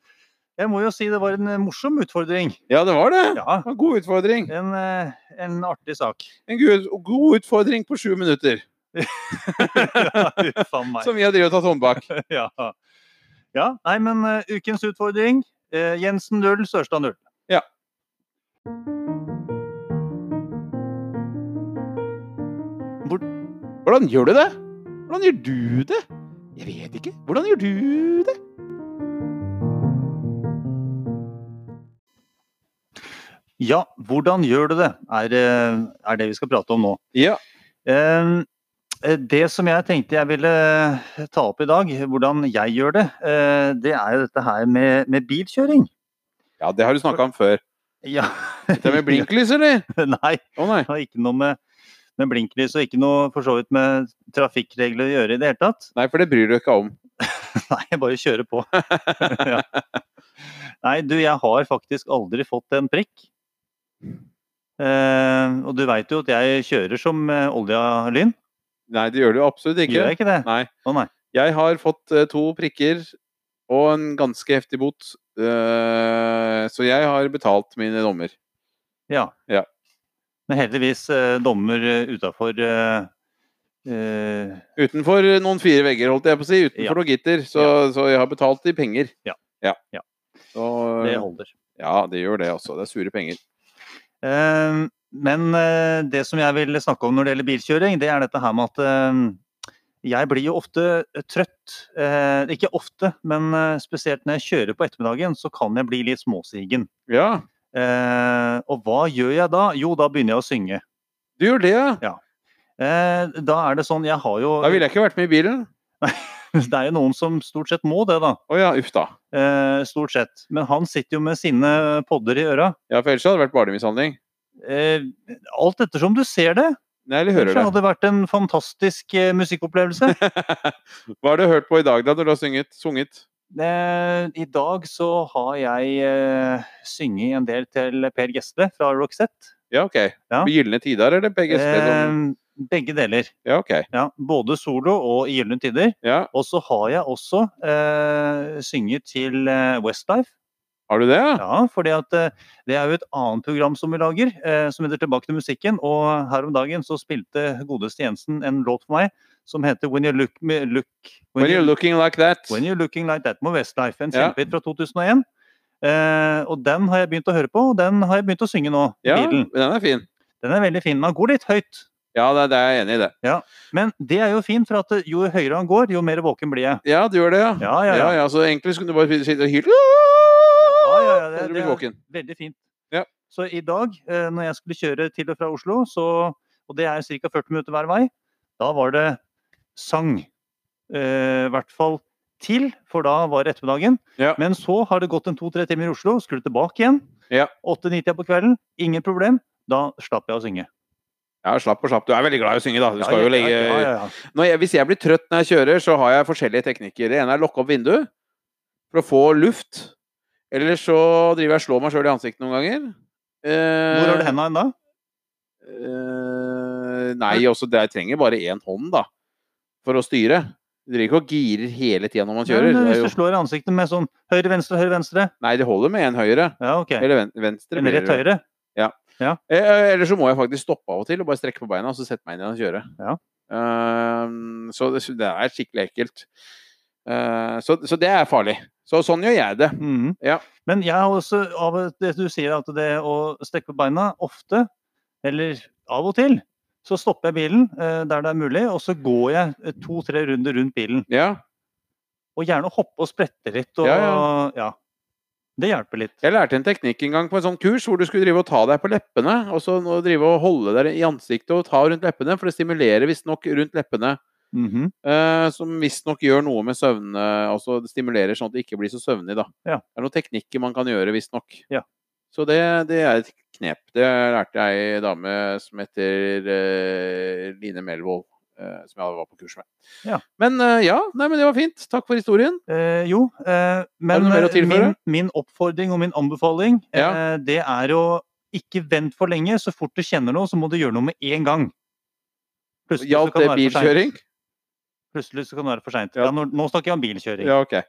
Speaker 2: jeg må jo si det var en eh, morsom utfordring.
Speaker 1: ja, det var det. Det
Speaker 2: Ja.
Speaker 1: var En god utfordring.
Speaker 2: En, eh, en artig sak.
Speaker 1: En god, god utfordring på sju minutter.
Speaker 2: Faen meg.
Speaker 1: Som vi har drevet og tatt hånd bak.
Speaker 2: Ja. ja. Nei, men eh, ukens utfordring. eh, Jensen 0, Sørstad 0.
Speaker 1: Hvordan gjør du det? Hvordan gjør du det? Jeg vet ikke. Hvordan gjør du det?
Speaker 2: Ja, hvordan gjør du det, er, eh, er det vi skal prate om nå.
Speaker 1: Ja.
Speaker 2: Eh, Det som jeg tenkte jeg ville eh, ta opp i dag, hvordan jeg gjør det, eh, det er jo dette her med, med bilkjøring.
Speaker 1: ja, det har du snakka om før.
Speaker 2: Ja.
Speaker 1: Det er med blinklys, eller?
Speaker 2: Nei,
Speaker 1: Å nei.
Speaker 2: det har ikke noe med, med blinklys og ikke noe for så vidt med trafikkregler å gjøre i det hele tatt.
Speaker 1: Nei, for det bryr du deg ikke om.
Speaker 2: Nei, jeg bare kjører på. ja. Nei, du, jeg har faktisk aldri fått en prikk. Eh, og du veit jo at jeg kjører som eh, olja lyn.
Speaker 1: Nei, det gjør du absolutt
Speaker 2: Gjør
Speaker 1: ikke.
Speaker 2: jeg ikke det?
Speaker 1: Nei.
Speaker 2: Å nei.
Speaker 1: Jeg har fått eh, to prikker og en ganske heftig bot, eh, så jeg har betalt mine dommer.
Speaker 2: Ja.
Speaker 1: Ja.
Speaker 2: Men heldigvis eh, dommer utafor eh, eh,
Speaker 1: Utenfor noen fire vegger, holdt jeg på å si. Utenfor
Speaker 2: Ja.
Speaker 1: noe gitter. Så, så jeg har betalt i penger.
Speaker 2: Ja.
Speaker 1: Ja.
Speaker 2: Ja.
Speaker 1: Så,
Speaker 2: Det holder.
Speaker 1: ja, det gjør det også. Det er sure penger.
Speaker 2: Eh, men eh, det som jeg vil snakke om når det gjelder bilkjøring, det er dette her med at eh, jeg blir jo ofte trøtt. Eh, ikke ofte, men eh, spesielt når jeg kjører på ettermiddagen, så kan jeg bli litt småsigen.
Speaker 1: Ja,
Speaker 2: Eh, og hva gjør jeg da? Jo, da begynner jeg å synge.
Speaker 1: du gjør det, ja.
Speaker 2: Eh, da er det sånn, jeg har jo
Speaker 1: Da ville jeg ikke vært med i bilen.
Speaker 2: Det er jo noen som stort sett må det, da.
Speaker 1: Å ja, uff da.
Speaker 2: Eh, stort sett. Men han sitter jo med sine podder i øra.
Speaker 1: Ja, for ellers hadde det vært barnemishandling.
Speaker 2: Eh, alt ettersom du ser det.
Speaker 1: Nei, eller
Speaker 2: Ellers
Speaker 1: hører
Speaker 2: hadde det vært en fantastisk eh, musikkopplevelse.
Speaker 1: det. Hva har du hørt på i dag, da, når du har synget? sunget?
Speaker 2: Eh, I dag så har jeg eh, synget en del til Per Gessle fra Roxette.
Speaker 1: Ja, OK.
Speaker 2: Ja.
Speaker 1: Med Gylne tider, eller begge steder?
Speaker 2: Eh, begge deler.
Speaker 1: Ja, OK.
Speaker 2: Ja, både solo og i gylne tider.
Speaker 1: Ja,
Speaker 2: Og så har jeg også eh, synget til eh, Westlife.
Speaker 1: Har du det? ja?
Speaker 2: Ja, fordi at eh, det er jo et annet program som vi lager, eh, som heter Tilbake til musikken. Og her om dagen så spilte godeste Jensen en låt for meg som heter When You Look, Me- look
Speaker 1: When you're looking like that.
Speaker 2: When You're Looking Like That med Westlife, en
Speaker 1: Ja.
Speaker 2: kjempehit fra 2001. Eh, og den har jeg begynt å høre på, og den har jeg begynt å synge nå. i
Speaker 1: Ja,
Speaker 2: bilen.
Speaker 1: den er fin.
Speaker 2: Den er veldig fin. Man går litt høyt,
Speaker 1: Ja, det, det er jeg enig i det.
Speaker 2: men det er jo fint, for at eh, jo høyere han går, jo mer våken blir jeg.
Speaker 1: Ja, du gjør det, ja.
Speaker 2: Ja, ja, ja.
Speaker 1: Ja, ja, så egentlig skulle du bare sitte og hyle
Speaker 2: ja, ja, det-
Speaker 1: Så du blir
Speaker 2: det-
Speaker 1: våken.
Speaker 2: Veldig fint.
Speaker 1: Ja.
Speaker 2: Så i dag, eh, når jeg skulle kjøre til og fra Oslo, så, og det er ca. 40 minutter hver vei, da var det sang. Eh, I hvert fall til, for da var det ettermiddagen.
Speaker 1: Ja.
Speaker 2: Men så har det gått en to-tre timer i Oslo, skulle tilbake igjen.
Speaker 1: Ja.
Speaker 2: 8-9-tida på kvelden, ingen problem. Da slapp jeg å synge.
Speaker 1: Ja, slapp og slapp. Du er veldig glad i å synge, da. Du
Speaker 2: Ja,
Speaker 1: skal
Speaker 2: ja,
Speaker 1: jo legge
Speaker 2: ja, ja, ja, ja.
Speaker 1: Når jeg, Hvis jeg blir trøtt når jeg kjører, så har jeg forskjellige teknikker. Det ene er å lukke opp vinduet for å få luft. Eller så driver jeg og slår meg sjøl i ansiktet noen ganger. Eh,
Speaker 2: Hvor har du henda ennå?
Speaker 1: Eh, nei, også det, jeg trenger bare én hånd, da. For å styre. Du driver ikke og girer hele tida når man kjører. Det er
Speaker 2: Hvis
Speaker 1: jo,
Speaker 2: du slår i ansiktet med sånn høyre, venstre, høyre, venstre.
Speaker 1: nei, det holder med én høyre.
Speaker 2: Ja, OK.
Speaker 1: Eller ven, venstre.
Speaker 2: En
Speaker 1: blir
Speaker 2: rett
Speaker 1: det.
Speaker 2: høyre.
Speaker 1: Eh, eh, Eller så må jeg faktisk stoppe av og til og bare strekke på beina og så sette meg inn igjen og kjøre.
Speaker 2: Ja.
Speaker 1: Ehm, så det, så det er skikkelig ekkelt. Eh, så, så det er farlig. Så sånn gjør jeg det.
Speaker 2: Mhm.
Speaker 1: Ja.
Speaker 2: Men jeg har også, av det du sier at det å strekke på beina ofte, eller av og til, så stopper jeg bilen eh, der det er mulig, og så går jeg eh, to-tre runder rundt bilen.
Speaker 1: Ja.
Speaker 2: Og gjerne hoppe og sprette litt. Og,
Speaker 1: Ja,
Speaker 2: ja,
Speaker 1: ja.
Speaker 2: Det hjelper litt.
Speaker 1: Jeg lærte en teknikk en gang på en sånn kurs hvor du skulle drive og ta deg på leppene, og så nå drive og holde deg i ansiktet og ta rundt leppene, for det stimulerer visstnok rundt leppene,
Speaker 2: Mhm.
Speaker 1: eh, som visstnok gjør noe med søvne, altså det stimulerer sånn at du ikke blir så søvnig, da.
Speaker 2: Ja.
Speaker 1: Det er noen teknikker man kan gjøre, visstnok.
Speaker 2: Ja.
Speaker 1: Så det, det er et knep. Det lærte jeg ei dame som heter eh, Line Melvold, eh, som jeg var på kurs med.
Speaker 2: Ja.
Speaker 1: Men eh, ja, nei, men det var fint. Takk for historien.
Speaker 2: Eh, jo, eh, men
Speaker 1: noe mer å
Speaker 2: eh, min,
Speaker 1: tilføre?
Speaker 2: min oppfordring og min anbefaling,
Speaker 1: Ja.
Speaker 2: eh, det er å ikke vent for lenge. Så fort du kjenner noe, så må du gjøre noe med en gang. Plutselig så
Speaker 1: Hjalp
Speaker 2: kan
Speaker 1: det
Speaker 2: være for sent.
Speaker 1: bilkjøring?
Speaker 2: Plutselig så kan det være for seint.
Speaker 1: Ja.
Speaker 2: Ja. nå, nå snakker jeg om bilkjøring.
Speaker 1: Ja, ok.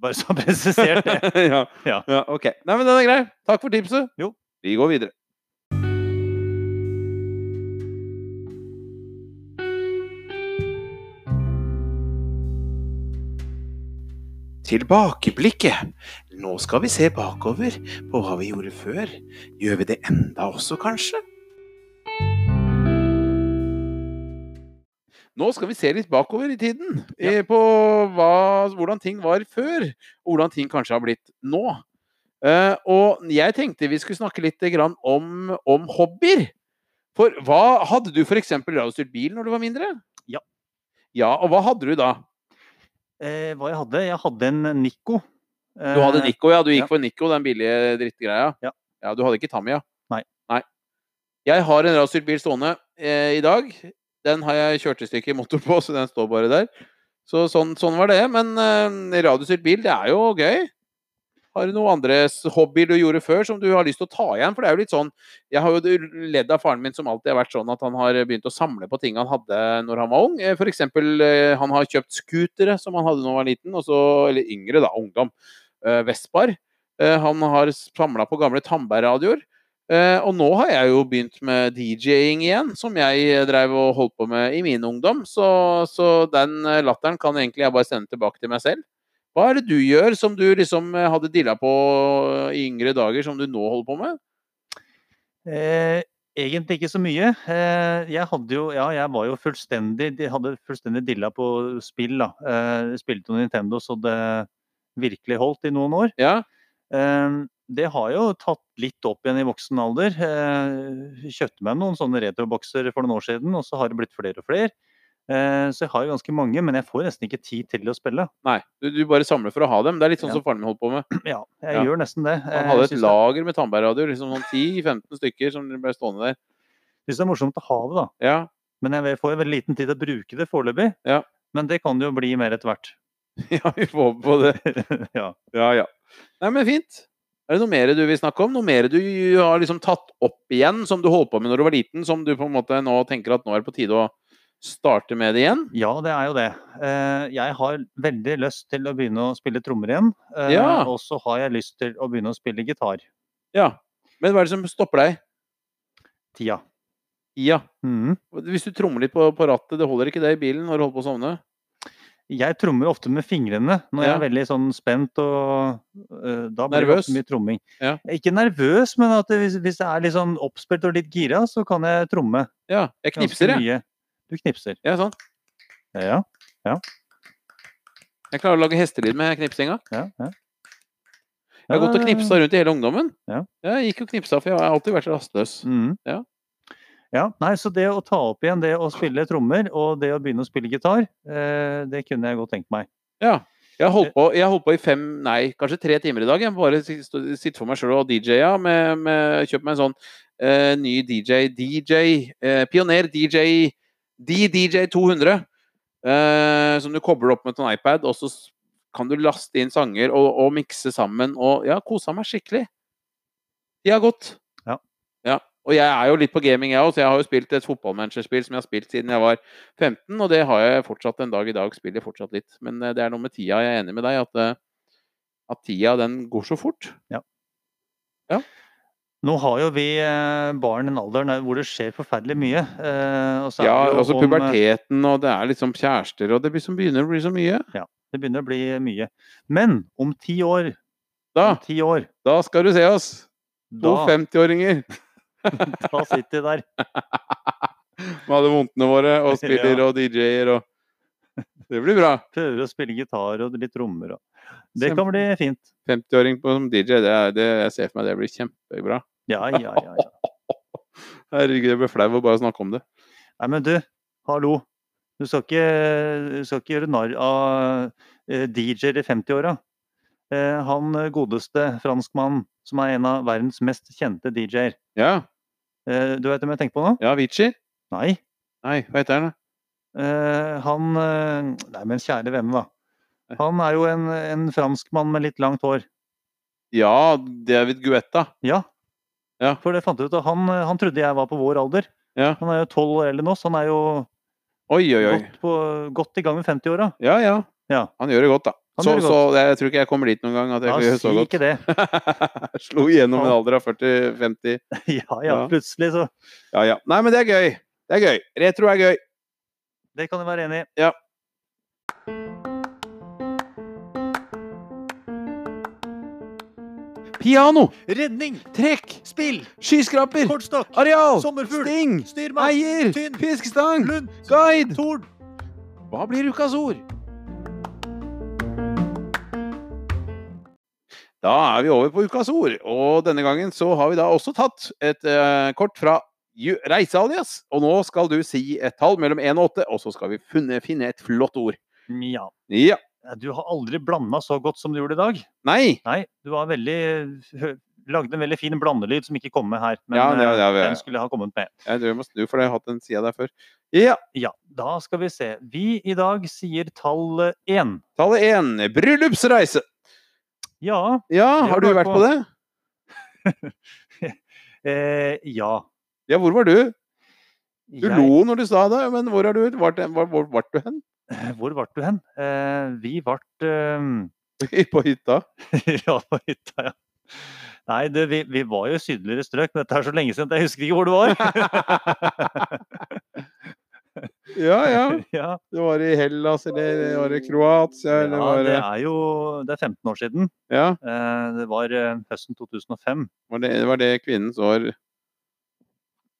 Speaker 2: Bare så presisert det.
Speaker 1: ja.
Speaker 2: Ja.
Speaker 1: ja, ok. Nei, men den er grei. Takk for tipset.
Speaker 2: Jo.
Speaker 1: Vi går videre. Tilbakeblikket. Nå skal vi se bakover på hva vi gjorde før. Gjør vi det enda også, kanskje? Nå skal vi se litt bakover i tiden, eh, på hva, hvordan ting var før og hvordan ting kanskje har blitt nå. Eh, og jeg tenkte vi skulle snakke litt grann om, om hobbyer. For hva hadde du f.eks. radiostyrt bil når du var mindre?
Speaker 2: Ja.
Speaker 1: Ja, Og hva hadde du da?
Speaker 2: Eh, hva jeg hadde? Jeg hadde en Nico.
Speaker 1: Du hadde Nico, ja. Du gikk
Speaker 2: Eh, ja.
Speaker 1: for Nico, den billige drittgreia.
Speaker 2: Ja.
Speaker 1: ja du hadde ikke Tamiya.
Speaker 2: Nei.
Speaker 1: Nei. Jeg har en rasstyrt bil stående eh, i dag. Den har jeg kjørtestykket motor på, så den står bare der. Så sånn, sånn var det. Men eh, radiostyrt bil, det er jo gøy. Har du noen andre s- hobbyer du gjorde før som du har lyst til å ta igjen? For det er jo litt sånn Jeg har jo ledd av faren min som alltid har vært sånn at han har begynt å samle på ting han hadde når han var ung. Eh, For eksempel, eh, han har kjøpt scootere som han hadde da han var liten, og så, eller yngre, da, ungdom eh, Vespar. Eh, han har samla på gamle Tandberg-radioer. Eh, og nå har jeg jo begynt med DJ-ing igjen, som jeg eh, drev og holdt på med i min ungdom. Så, så den eh, latteren kan egentlig jeg bare sende tilbake til meg selv. Hva er det du gjør som du liksom eh, hadde dilla på eh, i yngre dager, som du nå holder på med?
Speaker 2: Eh, egentlig ikke så mye. Eh, jeg hadde jo Ja, jeg var jo fullstendig de hadde fullstendig dilla på spill, da. Eh, spilte på Nintendo så det virkelig holdt i noen år.
Speaker 1: Ja,
Speaker 2: Eh, det har jo tatt litt opp igjen i voksen alder. Eh, kjøpte meg noen sånne retrobokser for noen år siden, og så har det blitt flere og flere. Eh, så jeg har jo ganske mange, men jeg får nesten ikke tid til å spille.
Speaker 1: Nei, du, du bare samler for å ha dem. Det er litt sånn
Speaker 2: Ja.
Speaker 1: som faren min holdt på med.
Speaker 2: Ja, jeg
Speaker 1: Ja.
Speaker 2: gjør nesten det. Eh,
Speaker 1: Han hadde
Speaker 2: jeg
Speaker 1: et
Speaker 2: synes det-
Speaker 1: lager med Tandberg-radioer, liksom sånn 10-15 stykker som ble stående der.
Speaker 2: synes det er morsomt å ha det, da.
Speaker 1: Ja,
Speaker 2: Men jeg får veldig liten tid til å bruke det foreløpig.
Speaker 1: Ja.
Speaker 2: Men det kan jo bli mer etter hvert.
Speaker 1: ja vi får håpe på det.
Speaker 2: ja.
Speaker 1: Ja, ja. Nei, men fint. Er det noe mer du vil snakke om? Noe mer du har liksom tatt opp igjen, som du holdt på med når du var liten, som du på en måte nå tenker at nå er det på tide å starte med det igjen?
Speaker 2: ja, det er jo det. Eh, Jeg har veldig lyst til å begynne å spille trommer igjen. eh,
Speaker 1: Ja.
Speaker 2: Og så har jeg lyst til å begynne å spille gitar.
Speaker 1: Ja. Men hva er det som stopper deg?
Speaker 2: Tida.
Speaker 1: Ja.
Speaker 2: Mhm.
Speaker 1: Hvis du trommer litt på, på rattet, det holder ikke det i bilen når du holder på å sovne?
Speaker 2: Jeg trommer ofte med fingrene når jeg
Speaker 1: Ja.
Speaker 2: er veldig sånn spent og eh, da blir det
Speaker 1: Nervøs?
Speaker 2: ofte mye tromming.
Speaker 1: Ja.
Speaker 2: Ikke nervøs, men at det, hvis, hvis det er litt sånn oppspilt og litt gira, så kan jeg tromme.
Speaker 1: Ja. Jeg
Speaker 2: ganske
Speaker 1: knipser, jeg.
Speaker 2: mye. Du knipser.
Speaker 1: Ja, sånn.
Speaker 2: Ja, ja.
Speaker 1: Jeg klarer å lage hestelyd med knipsinga.
Speaker 2: ja, ja.
Speaker 1: Jeg har gått og
Speaker 2: Ja, ja, ja.
Speaker 1: knipsa rundt i hele ungdommen.
Speaker 2: Ja.
Speaker 1: Jeg gikk og knipsa, for jeg har alltid vært rastløs.
Speaker 2: Mhm.
Speaker 1: Ja.
Speaker 2: Ja, nei, Så det å ta opp igjen det å spille trommer og det å begynne å spille gitar, eh, det kunne jeg godt tenkt meg.
Speaker 1: Jeg holdt på, jeg holdt på i fem, nei, kanskje tre timer i dag. Jeg bare sit- stå- sitte for meg sjøl og DJ-a. med- med- Kjøpt meg en sånn eh, ny DJ, DJ, eh, Pioner DJ, DDJ 200. Eh, som du kobler opp med en iPad, og så s- kan du laste inn sanger og, og mikse sammen. Og ja, kosa meg skikkelig. De har gått.
Speaker 2: Ja.
Speaker 1: ja. Og jeg er jo litt på gaming, jeg òg, så jeg har jo spilt et fotballmanagerspill som jeg har spilt siden jeg var 15, og det har jeg fortsatt en dag i dag. Spiller fortsatt litt. Men eh, det er noe med tida. Jeg er enig med deg at, eh, at tida, den går så fort.
Speaker 2: Nå har jo vi eh, barn i en alder der hvor det skjer forferdelig mye. eh, og så er
Speaker 1: Ja,
Speaker 2: det jo
Speaker 1: altså
Speaker 2: om, eh,
Speaker 1: puberteten, og det er liksom kjærester, og det blir som begynner å bli så mye.
Speaker 2: Det begynner å bli mye. Men om ti år,
Speaker 1: Da,
Speaker 2: om ti år
Speaker 1: da skal du se oss! To
Speaker 2: da,
Speaker 1: 50-åringer
Speaker 2: da sitter de der.
Speaker 1: med alle vondtene våre, og spiller og DJ-er og Det blir bra.
Speaker 2: Prøver å spille gitar og litt trommer. og- Det
Speaker 1: Kjempe-
Speaker 2: kan bli fint.
Speaker 1: 50-åring på- som DJ, det, er, det jeg ser for meg det blir kjempebra.
Speaker 2: Ja, ja, ja. ja.
Speaker 1: Herregud, jeg ble flau av bare å snakke om det.
Speaker 2: Nei, men du, hallo. Du skal ikke, du skal ikke gjøre narr av eh, DJ-er i 50-åra. Eh, Han eh, godeste franskmannen som er en av verdens mest kjente DJ-er.
Speaker 1: Ja,
Speaker 2: Eh, Du veit hvem jeg tenker på nå?
Speaker 1: ja Vici?
Speaker 2: Nei.
Speaker 1: Nei, hva heter han? da?
Speaker 2: Eh, Han eh, Nei, men kjære venner, da. Han er jo en, en franskmann med litt langt hår.
Speaker 1: Ja, David Guetta.
Speaker 2: Ja.
Speaker 1: Ja.
Speaker 2: For det fant jeg ut, at han, eh, han trodde jeg var på vår alder.
Speaker 1: Ja.
Speaker 2: Han er jo tolv år eldre enn oss. Han er jo
Speaker 1: Oi, oi, oi.
Speaker 2: godt, på, godt i gang med 50-åra.
Speaker 1: Ja, ja.
Speaker 2: Ja.
Speaker 1: Han gjør det godt, da.
Speaker 2: Han
Speaker 1: Så,
Speaker 2: gjør det
Speaker 1: så jeg tror ikke jeg kommer dit noen gang at jeg
Speaker 2: Ja,
Speaker 1: kan gjøre
Speaker 2: si
Speaker 1: så godt.
Speaker 2: ikke det.
Speaker 1: Slo igjennom en
Speaker 2: Ja.
Speaker 1: alder av 40-50.
Speaker 2: Ja, ja,
Speaker 1: Ja.
Speaker 2: plutselig så
Speaker 1: Ja, ja. Nei, men det er gøy. Det er gøy. Retro er gøy.
Speaker 2: Det kan jeg være enig i.
Speaker 1: Ja. Piano,
Speaker 2: Redning,
Speaker 1: trekk,
Speaker 2: spill,
Speaker 1: skyskraper,
Speaker 2: kortstokk,
Speaker 1: areal,
Speaker 2: sommerfugl,
Speaker 1: sting,
Speaker 2: styrmann,
Speaker 1: eier,
Speaker 2: tynn,
Speaker 1: fiskestang,
Speaker 2: lund,
Speaker 1: guide.
Speaker 2: torn.
Speaker 1: Hva blir ukas ord? Da er vi over på ukas ord, og denne gangen så har vi da også tatt et eh, kort fra Ju- Reisealias. Og nå skal du si et tall mellom 1 og 8, og så skal vi funne, finne et flott ord.
Speaker 2: Ja.
Speaker 1: Ja.
Speaker 2: Du har aldri blanda så godt som du gjorde i dag.
Speaker 1: Nei!
Speaker 2: Nei, du var veldig hø- Lagde en veldig fin blandelyd som ikke kom med her. Men
Speaker 1: Ja, det-
Speaker 2: eh,
Speaker 1: det- det-
Speaker 2: den skulle jeg ha kommet med.
Speaker 1: Jeg tror jeg må snu, for jeg har hatt den sida der før. Ja.
Speaker 2: Ja, da skal vi se. Vi i dag sier eh, tallet én.
Speaker 1: Tallet 1. Bryllupsreise.
Speaker 2: Ja.
Speaker 1: Ja,
Speaker 2: Det
Speaker 1: har
Speaker 2: var
Speaker 1: du
Speaker 2: bra
Speaker 1: vært
Speaker 2: på.
Speaker 1: på det?
Speaker 2: Eh, ja.
Speaker 1: Ja, hvor var du? Du
Speaker 2: Jeg-
Speaker 1: lo når du sa det, men hvor har du vart, hvor, hvor vart du hen?
Speaker 2: Hvor vart du hen? Eh, vi vart eh,
Speaker 1: På hytta?
Speaker 2: Ja, på hytta, ja. Nei, det, vi, vi var jo i sydligere strøk, men dette er så lenge siden at jeg husker ikke hvor det var.
Speaker 1: Ja, ja.
Speaker 2: ja,
Speaker 1: Det var i Hellas, eller var det Kroatia, eller
Speaker 2: ja,
Speaker 1: var
Speaker 2: det
Speaker 1: det
Speaker 2: er jo det er 15 år siden.
Speaker 1: Ja,
Speaker 2: Eh, Det var eh, høsten 2005.
Speaker 1: var det, var det kvinnens år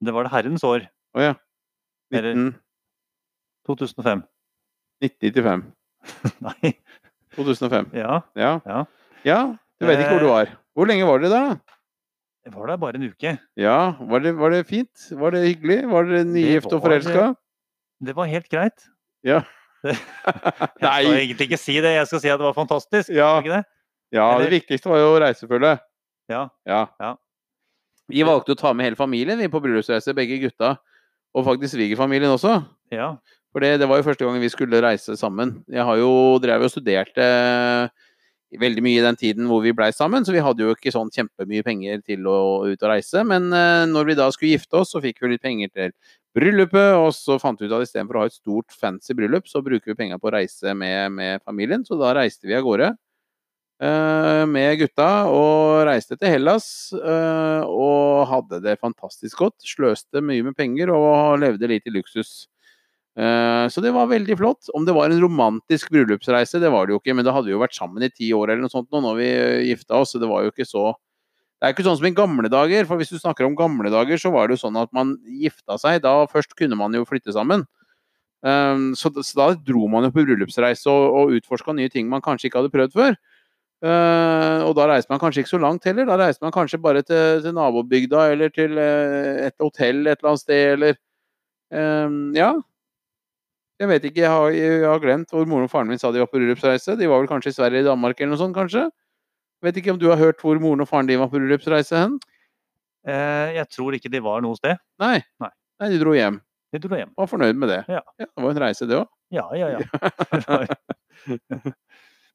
Speaker 2: Det var det herrens år.
Speaker 1: Å ja.
Speaker 2: Eller-
Speaker 1: 19,
Speaker 2: 2005.
Speaker 1: 1995.
Speaker 2: Nei,
Speaker 1: 2005.
Speaker 2: ja.
Speaker 1: Ja.
Speaker 2: Ja. Eh.
Speaker 1: ja. Du vet ikke hvor du var. Hvor lenge var dere der, da?
Speaker 2: Jeg var der bare en uke.
Speaker 1: Ja, var det, var det fint? Var det hyggelig? Var dere nygift og
Speaker 2: var-
Speaker 1: forelska?
Speaker 2: Det var helt greit.
Speaker 1: Ja.
Speaker 2: Det- Jeg skal
Speaker 1: Nei!
Speaker 2: egentlig ikke si det, jeg skal si at det var fantastisk. skal
Speaker 1: Ja.
Speaker 2: jeg Ikke det?
Speaker 1: Ja, det
Speaker 2: Eller-
Speaker 1: viktigste var jo reisefølget.
Speaker 2: Ja.
Speaker 1: Ja.
Speaker 2: Ja.
Speaker 1: Vi valgte å ta med hele familien vi på bryllupsreise, begge gutta. Og faktisk svigerfamilien også.
Speaker 2: Ja.
Speaker 1: For det, det var jo første gangen vi skulle reise sammen. Jeg har jo drevet og studert eh, veldig mye i den tiden hvor vi blei sammen, så vi hadde jo ikke sånn kjempemye penger til å ut og reise. Men eh, når vi da skulle gifte oss, så fikk vi litt penger til bryllupet, og så fant vi ut at istedenfor å ha et stort, fancy bryllup, så bruker vi penga på å reise med, med familien. Så da reiste vi av gårde. eh, med gutta, og reiste til Hellas. eh, og hadde det fantastisk godt. Sløste mye med penger og levde litt i luksus. Eh, Så det var veldig flott. Om det var en romantisk bryllupsreise, det var det jo ikke, men da hadde vi jo vært sammen i ti år eller noe sånt nå når vi eh, gifta oss, så det var jo ikke så Det er ikke sånn som i gamle dager, for hvis du snakker om gamle dager, så var det jo sånn at man gifta seg, da først kunne man jo flytte sammen. Eh, Så så da dro man jo på bryllupsreise og, og utforska nye ting man kanskje ikke hadde prøvd før. Eh, og da reiste man kanskje ikke så langt heller. Da reiste man kanskje bare til, til nabobygda eller til eh, et hotell et eller annet sted, eller eh, Ja, jeg vet ikke, jeg har, jeg har glemt hvor moren og faren min sa de var på bryllupsreise. De var vel kanskje i Sverige, Danmark eller noe sånt, kanskje? Vet ikke om du har hørt hvor moren og faren din var på bryllupsreise hen?
Speaker 2: Eh, Jeg tror ikke de var noe sted.
Speaker 1: Nei.
Speaker 2: Nei.
Speaker 1: Nei, de dro hjem.
Speaker 2: De dro hjem.
Speaker 1: Var fornøyd med det.
Speaker 2: Ja.
Speaker 1: det var en reise, det òg.
Speaker 2: Ja, ja, ja.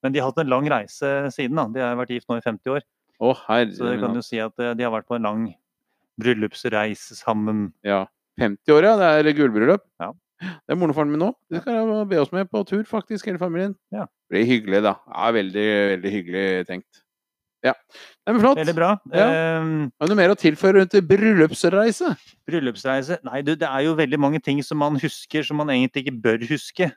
Speaker 2: Men de har hatt en lang reise siden. da. De har vært gift nå i 50 år.
Speaker 1: Å, herre
Speaker 2: Så du
Speaker 1: min
Speaker 2: kan
Speaker 1: hatt.
Speaker 2: jo si at eh, de har vært på en lang bryllupsreise sammen.
Speaker 1: Ja. 50 år, ja. Det er gullbryllup.
Speaker 2: Ja.
Speaker 1: Det er moren og faren min nå. De skal jeg be oss med på tur, faktisk, hele familien.
Speaker 2: Ja.
Speaker 1: Blir hyggelig, da. Ja, veldig, veldig hyggelig tenkt. Ja. Nei, men flott.
Speaker 2: Veldig bra.
Speaker 1: Ja.
Speaker 2: Eh,
Speaker 1: Har du noe mer å tilføre rundt bryllupsreise?
Speaker 2: bryllupsreise Nei, du, det er jo veldig mange ting som man husker som man egentlig ikke bør huske.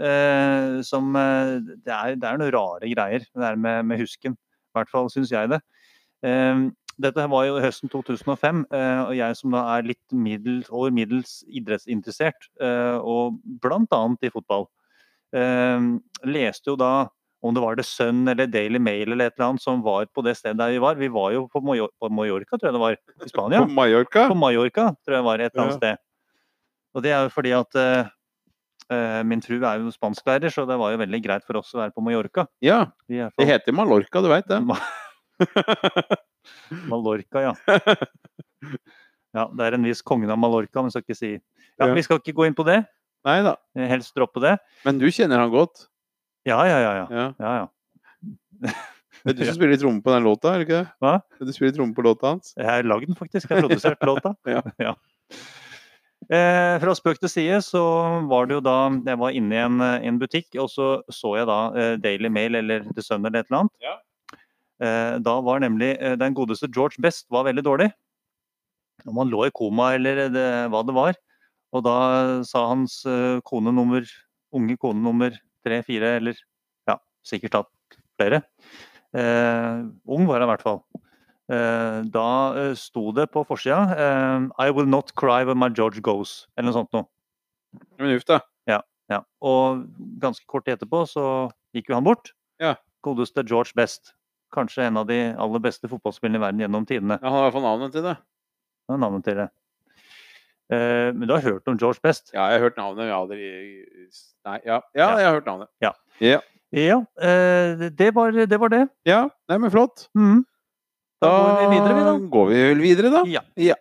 Speaker 2: Eh, som eh, det, er, det er noen rare greier, det der med, med husken. I hvert fall syns jeg det. Eh, dette her var jo høsten 2005, eh, og jeg som da er litt middels, over middels idrettsinteressert, eh, og blant annet i fotball, eh, leste jo da om det var The Sun eller Daily Mail eller et eller annet som var på det stedet der vi var. Vi var jo på Major- på Mallorca, tror jeg det var, i Spania
Speaker 1: På Mallorca?
Speaker 2: på Mallorca, tror jeg var et eller annet
Speaker 1: Ja.
Speaker 2: sted. Og det er jo fordi at eh, eh, min frue er jo spansklærer, så det var jo veldig greit for oss å være på Mallorca.
Speaker 1: Ja.
Speaker 2: Vi er
Speaker 1: Det
Speaker 2: fra
Speaker 1: heter Mallorca, du veit det.
Speaker 2: Mallorca, ja. Ja, Det er en viss kongen av Mallorca, men skal ikke si Ja,
Speaker 1: Ja.
Speaker 2: Vi skal ikke gå inn på det.
Speaker 1: Nei da.
Speaker 2: eh, Helst droppe det.
Speaker 1: Men du kjenner han godt.
Speaker 2: Ja, ja, ja. ja.
Speaker 1: Ja.
Speaker 2: ja, ja.
Speaker 1: Det er du som spiller tromme på den låta, er det ikke det?
Speaker 2: Hva?
Speaker 1: Det er Du spiller tromme på låta hans.
Speaker 2: Jeg har lagd den faktisk, jeg har produsert låta.
Speaker 1: Ja.
Speaker 2: Eh, fra spøk til side så var det jo da jeg var inne i en, eh, en butikk, og så så jeg da eh, Daily Mail eller The Sun eller et eller annet.
Speaker 1: Ja.
Speaker 2: Eh, da var nemlig eh, den godeste George Best var veldig dårlig. Om han lå i koma eller eh, det, hva det var. Og da eh, sa hans eh, kone nummer, unge kone nummer tre, fire eller ja, sikkert tatt flere. Eh, ung var han i hvert fall. Eh, da eh, sto det på forsida eh, I will not cry when my George goes, eller noe sånt noe.
Speaker 1: Men uff, da.
Speaker 2: Ja. Og ganske kort tid etterpå så gikk jo han bort.
Speaker 1: Ja.
Speaker 2: Godeste George Best. kanskje en av de aller beste fotballspillene i verden gjennom tidene.
Speaker 1: Ja, han har i hvert fall navnet til det.
Speaker 2: Det er navnet til det. Eh, Men du har hørt om George Best?
Speaker 1: Ja, jeg har hørt navnet. Jeg har aldri Nei, ja. ja, jeg har hørt navnet.
Speaker 2: Ja, eh, det var det. Var det.
Speaker 1: Ja, nei, men flott.
Speaker 2: Mm. Da
Speaker 1: Da
Speaker 2: går vi videre, vi da.
Speaker 1: går vi vel videre, da.
Speaker 2: Ja.
Speaker 1: Ja.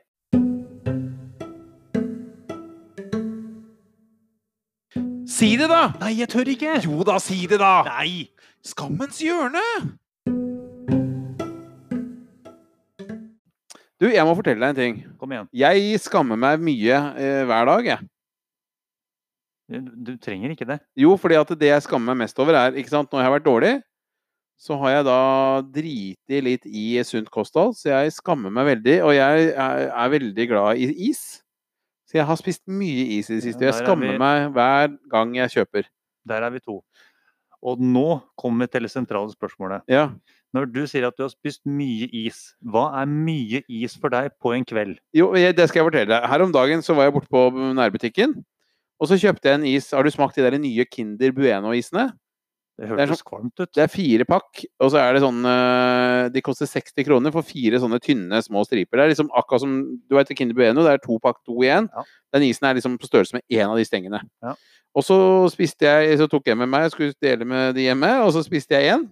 Speaker 1: Si det, da!
Speaker 2: Nei, jeg tør ikke!
Speaker 1: Jo da, si det, da!
Speaker 2: Nei!
Speaker 1: Skammens hjørne! Du, jeg må fortelle deg en ting.
Speaker 2: Kom igjen.
Speaker 1: Jeg skammer meg mye eh, hver dag, jeg.
Speaker 2: Du, du trenger ikke det.
Speaker 1: Jo, fordi at det jeg skammer meg mest over, er ikke sant, Når jeg har vært dårlig, så har jeg da driti litt i sunt kosthold, så jeg skammer meg veldig. Og jeg er, er veldig glad i is. Så jeg har spist mye is i det siste. og Jeg
Speaker 2: Ja, der er
Speaker 1: skammer
Speaker 2: vi-
Speaker 1: meg hver gang jeg kjøper.
Speaker 2: Der er vi to. Og nå kommer vi til det sentrale spørsmålet.
Speaker 1: Ja.
Speaker 2: Når du sier at du har spist mye is, hva er mye is for deg på en kveld?
Speaker 1: Jo, jeg, det skal jeg fortelle deg. Her om dagen så var jeg borte på nærbutikken, og så kjøpte jeg en is. Har du smakt de der nye Kinder Bueno-isene?
Speaker 2: Det
Speaker 1: er sånn
Speaker 2: hørtes kvalmt ut.
Speaker 1: Det er fire pakk, og så er det sånn eh, De koster 60 kroner for fire sånne tynne, små striper. Det er liksom akkurat som Du vet Kinder Bueno, det er to pakk to i én.
Speaker 2: Ja.
Speaker 1: Den isen er liksom på størrelse med én av de stengene.
Speaker 2: Ja.
Speaker 1: Og så spiste jeg, så tok jeg med meg, skulle dele med de hjemme, og så spiste jeg én.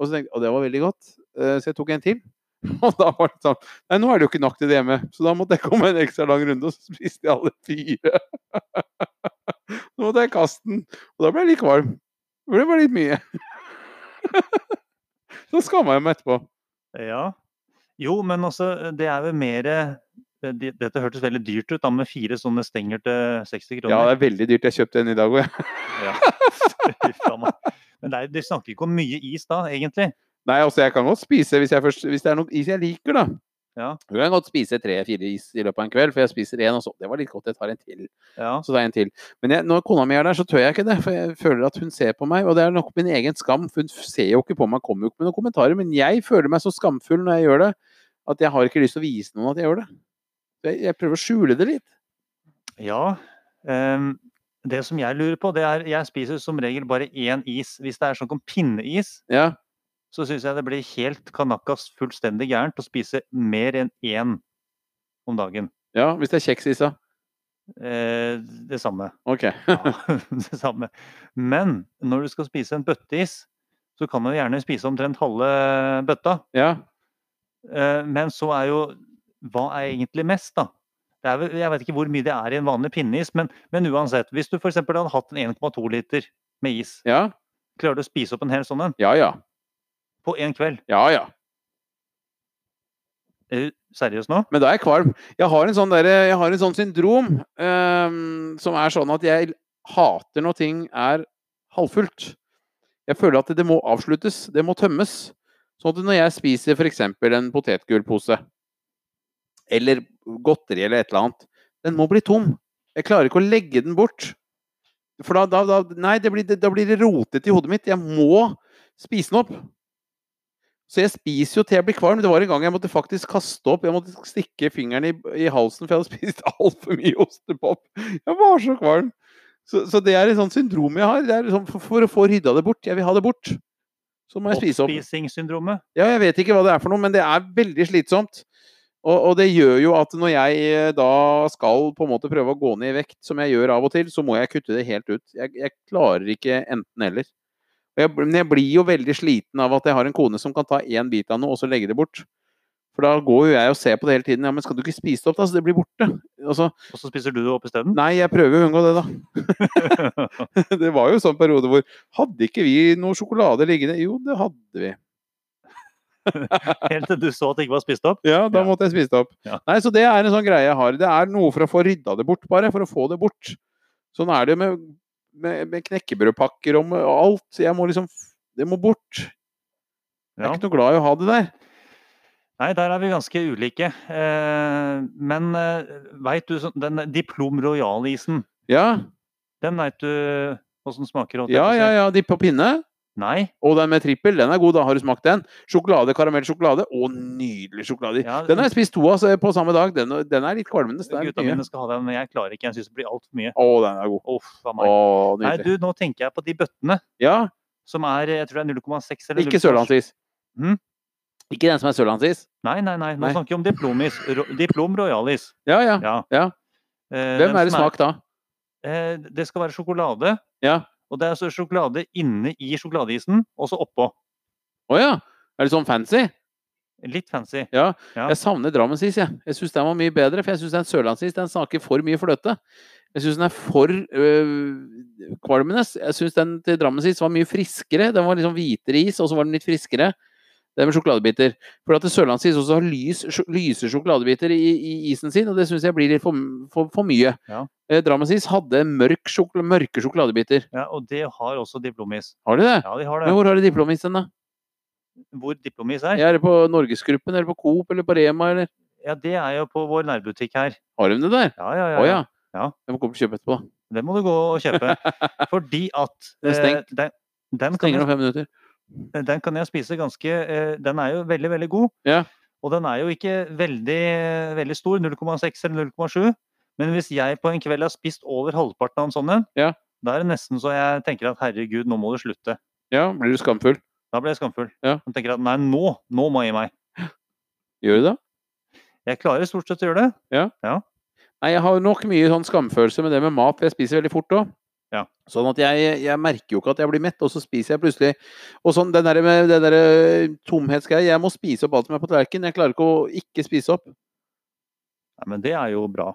Speaker 1: Og så tenkte jeg å, det var veldig godt, Eh, så jeg tok en til. Og da var det sånn Nei, nå er det jo ikke nok til det hjemme, så da måtte jeg komme en ekstra lang runde, og så spiste jeg alle fire. Nå måtte jeg kaste den, og da ble jeg litt kvalm. For det var litt mye. Så skamma jeg meg etterpå.
Speaker 2: Ja. Jo, men altså, det er jo mer Dette hørtes veldig dyrt ut, da, med fire sånne stenger til 60
Speaker 1: Ja,
Speaker 2: kroner.
Speaker 1: det er veldig dyrt. Jeg kjøpte en i dag òg, jeg.
Speaker 2: Ja. Fy faen, mann. men det er, de snakker ikke om mye is da, egentlig.
Speaker 1: Nei, altså, jeg kan godt spise hvis, jeg først, hvis det er noe is jeg liker, da.
Speaker 2: Ja.
Speaker 1: Jeg kan godt spise tre-fire is i løpet av en kveld, for jeg spiser én, og så Det var litt godt, jeg tar en til.
Speaker 2: Ja.
Speaker 1: Så tar jeg en til. Men jeg, når kona mi er der, så tør jeg ikke det, for jeg føler at hun ser på meg. Og det er nok min egen skam, for hun ser jo ikke på meg, kommer jo ikke med noen kommentarer. Men jeg føler meg så skamfull når jeg gjør det, at jeg har ikke lyst til å vise noen at jeg gjør det. Jeg, jeg prøver å skjule det litt.
Speaker 2: Ja. ehm, det som jeg lurer på, det er Jeg spiser som regel bare én is. Hvis det er sånn som pinneis,
Speaker 1: Ja.
Speaker 2: så syns jeg det blir helt kanakas fullstendig gærent å spise mer enn én om dagen.
Speaker 1: ja hvis det er kjeksis, da.
Speaker 2: Eh, det samme.
Speaker 1: OK.
Speaker 2: Ja, det samme. Men når du skal spise en bøtteis, så kan man jo gjerne spise omtrent halve bøtta.
Speaker 1: Ja.
Speaker 2: Eh, Men så er jo Hva er egentlig mest, da? Det er, vel- jeg vet ikke hvor mye det er i en vanlig pinneis, men, men uansett. Hvis du f.eks. hadde hatt en 1,2 liter med is,
Speaker 1: Ja.
Speaker 2: klarer du å spise opp en hel sånn en
Speaker 1: Ja ja.
Speaker 2: på én kveld?
Speaker 1: Ja ja.
Speaker 2: Er du seriøs nå?
Speaker 1: Men da er jeg kvalm. Jeg har en sånn, derre- jeg har en sånn syndrom ehm, som er sånn at jeg hater når ting er halvfullt. Jeg føler at det må avsluttes, det må tømmes. Sånn at når jeg spiser f.eks. en potetgullpose, eller godteri eller et eller annet, den må bli tom. Jeg klarer ikke å legge den bort. For da, da, da, nei, det blir, det, da blir det rotete i hodet mitt. Jeg må spise den opp. Så jeg spiser jo til jeg blir kvalm. Det var en gang jeg måtte faktisk kaste opp. Jeg måtte stikke fingeren i, i halsen, for jeg hadde spist altfor mye ostepop. Jeg var så kvalm. Så, så det er et sånt syndrom jeg har. Det er sånn for, for å få rydda det bort. Jeg vil ha det bort. Så må jeg spise opp.
Speaker 2: Oppspisingssyndromet.
Speaker 1: Ja, jeg vet ikke hva det er for noe, men det er veldig slitsomt. Og, og det gjør jo at når jeg eh, da skal på en måte prøve å gå ned i vekt, som jeg gjør av og til, så må jeg kutte det helt ut. Jeg, jeg klarer ikke enten-eller. Men jeg blir jo veldig sliten av at jeg har en kone som kan ta én bit av noe og så legge det bort. For da går jo jeg og ser på det hele tiden. Ja, men skal du ikke spise det opp, da? Så det blir borte. Altså,
Speaker 2: Og så spiser du det opp isteden?
Speaker 1: nei, jeg prøver å unngå det, da. Det var jo en sånn periode hvor Hadde ikke vi noe sjokolade liggende? Jo, det hadde vi.
Speaker 2: Helt til du så at det ikke var spist opp?
Speaker 1: Ja, da
Speaker 2: Ja.
Speaker 1: måtte jeg spise det opp.
Speaker 2: Ja.
Speaker 1: Nei, så det er en sånn greie jeg har. Det er noe for å få rydda det bort, bare. For å få det bort. Sånn er det jo med, med, med knekkebrødpakker og med alt. Så Jeg må liksom Det må bort. Jeg
Speaker 2: Ja.
Speaker 1: er ikke noe glad i å ha det der.
Speaker 2: Nei, der er vi ganske ulike. Eh, Men veit du sånn Den Diplom Royal-isen,
Speaker 1: Ja,
Speaker 2: den veit du åssen smaker? holdt jeg
Speaker 1: ja,
Speaker 2: på å si.
Speaker 1: ja. ja de på pinne.
Speaker 2: Nei?
Speaker 1: Og den med trippel, den er god. da Har du smakt den? Sjokolade, karamell, sjokolade. Å, nydelig sjokolade.
Speaker 2: Ja,
Speaker 1: Den har jeg spist to av så- på samme dag. Den, den er litt kvalmende. så det er litt
Speaker 2: Gutta
Speaker 1: mye.
Speaker 2: mine skal ha den, men jeg klarer ikke. Jeg syns det blir altfor mye.
Speaker 1: Å, den er god.
Speaker 2: Uff a
Speaker 1: Å,
Speaker 2: meg. Nei,
Speaker 1: nydelig.
Speaker 2: du, nå tenker jeg på de bøttene
Speaker 1: Ja,
Speaker 2: som er Jeg tror det er 0,6 eller
Speaker 1: ikke sørlandsis.
Speaker 2: Mhm.
Speaker 1: Ikke den som er sørlandsis.
Speaker 2: Nei, nei, nei. Nå
Speaker 1: Nei.
Speaker 2: snakker vi om diplomis. Ro, diplom royalis.
Speaker 1: Ja, ja.
Speaker 2: Ja.
Speaker 1: Ja.
Speaker 2: Eh,
Speaker 1: Hvem er
Speaker 2: den
Speaker 1: det
Speaker 2: som
Speaker 1: smak da?
Speaker 2: Eh, det skal være sjokolade.
Speaker 1: Ja.
Speaker 2: Og det er altså sjokolade inne i sjokoladeisen, og så oppå.
Speaker 1: Å ja. Er det sånn fancy?
Speaker 2: Litt fancy. Ja.
Speaker 1: Jeg savner Drammensis, jeg. Jeg syns den var mye bedre, for jeg syns den sørlandsis den snakker for mye fløte. Jeg syns den er for øh, kvalmende. Jeg syns den til Drammensis var mye friskere. Den var liksom hvitere is, og så var den litt friskere. Den med sjokoladebiter. For at sørlandsis også har lys, sj- lyse sjokoladebiter i, i isen sin, og det syns jeg blir litt for, for, for mye.
Speaker 2: Ja.
Speaker 1: Eh, Drammensis hadde mørk sjokol mørke sjokoladebiter.
Speaker 2: Ja, og det har også diplomis.
Speaker 1: Har de det?
Speaker 2: Ja, de har
Speaker 1: Men
Speaker 2: det.
Speaker 1: hvor har de diplomis hen, da?
Speaker 2: Hvor diplomis er?
Speaker 1: Er det på Norgesgruppen, eller på Coop, eller på Rema, eller
Speaker 2: Ja, det er jo på vår nærbutikk her.
Speaker 1: Har de det der?
Speaker 2: Ja, ja,
Speaker 1: Å
Speaker 2: ja.
Speaker 1: ja.
Speaker 2: Ja.
Speaker 1: Jeg må komme og kjøpe etterpå, da.
Speaker 2: Det må du gå og kjøpe. Fordi at
Speaker 1: Den er
Speaker 2: eh,
Speaker 1: stengt.
Speaker 2: den, den, kan
Speaker 1: Stenger
Speaker 2: jeg,
Speaker 1: om fem minutter.
Speaker 2: den kan jeg spise ganske eh, Den er jo veldig, veldig god.
Speaker 1: Ja.
Speaker 2: Og den er jo ikke veldig, veldig stor, 0,6 eller 0,7. Men hvis jeg på en kveld har spist over halvparten av en sånn en,
Speaker 1: Ja.
Speaker 2: da er det nesten så jeg tenker at herregud, nå må du slutte.
Speaker 1: Ja, blir du skamfull?
Speaker 2: Da blir jeg skamfull.
Speaker 1: Ja.
Speaker 2: Jeg tenker at nei, nå, nå må jeg gi meg.
Speaker 1: Gjør du det?
Speaker 2: Jeg klarer stort sett å gjøre det.
Speaker 1: Nei, jeg har nok mye sånn skamfølelse med det med mat, for jeg spiser veldig fort òg.
Speaker 2: Ja.
Speaker 1: Sånn at jeg, jeg merker jo ikke at jeg blir mett, og så spiser jeg plutselig. Og sånn, den der med den der øh, tomhetsgreia Jeg må spise opp alt som er på tallerkenen. Jeg klarer ikke å ikke spise opp.
Speaker 2: Nei, men det er jo bra.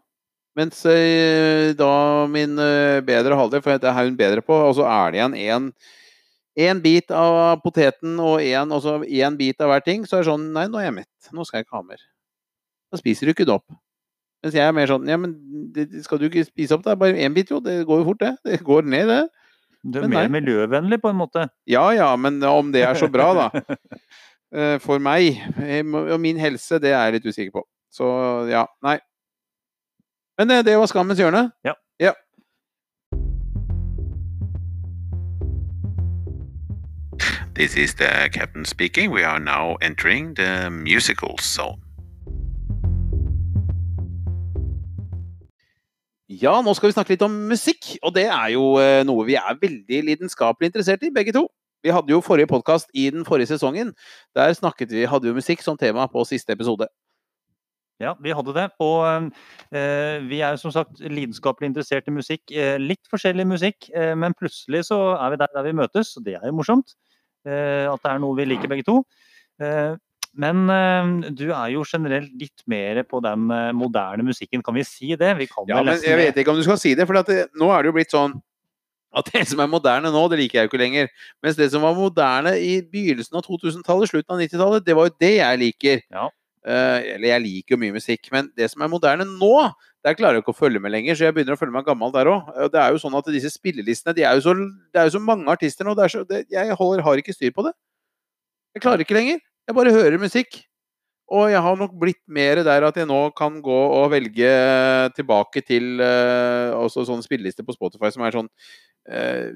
Speaker 1: Mens øh, da min øh, bedre halvdel, for det er hun bedre på, og så er det igjen en en bit av poteten og en, og så en bit av hver ting, så er det sånn Nei, nå er jeg mett. Nå skal jeg ikke ha mer. Da spiser du ikke det opp. Mens jeg er mer sånn Ja, men det, det skal du ikke spise opp? Det er bare én bit, jo. Det går jo fort, det. Det går ned, det.
Speaker 2: Du er
Speaker 1: Men
Speaker 2: mer miljøvennlig på en måte.
Speaker 1: Ja ja, men om det er så bra, da. eh, For meg eh, og min helse, det er jeg litt usikker på. Så ja, nei. Men eh, det var skammens hjørne.
Speaker 3: This is the captain speaking. We are now entering the musical zone.
Speaker 1: Ja, nå skal vi snakke litt om musikk, og det er jo eh, noe vi er veldig lidenskapelig interessert i, begge to. Vi hadde jo forrige podkast i den forrige sesongen. Der snakket vi, hadde vi musikk som tema på siste episode.
Speaker 2: Ja, vi hadde det. Og ehm, eh, vi er jo som sagt lidenskapelig interessert i musikk. Eh, litt forskjellig musikk, eh, men plutselig så er vi der der vi møtes, og det er jo morsomt. Eh, at det er noe vi liker begge to. Eh, men eh, du er jo generelt litt mer på den eh, moderne musikken, kan vi si det? Vi kan
Speaker 1: Ja,
Speaker 2: vel
Speaker 1: men
Speaker 2: nesten
Speaker 1: jeg
Speaker 2: det.
Speaker 1: vet ikke om du skal si det, for at det, nå er det jo blitt sånn at det som er moderne nå, det liker jeg jo ikke lenger. Mens det som var moderne i begynnelsen av 2000-tallet, slutten av 90-tallet, det var jo det jeg liker.
Speaker 2: Ja.
Speaker 1: Eh, eller jeg liker jo mye musikk, men det som er moderne nå, der klarer jeg ikke å følge med lenger, så jeg begynner å følge meg gammel der òg. Det er jo sånn at disse spillelistene, de er jo så, det er jo så mange artister nå, det er så, det, jeg holder, har ikke styr på det. Jeg klarer ikke lenger. Jeg bare hører musikk. Og jeg har nok blitt mer der at jeg nå kan gå og velge Eh, tilbake til eh, også sånne spillelister på Spotify som er sånn eh,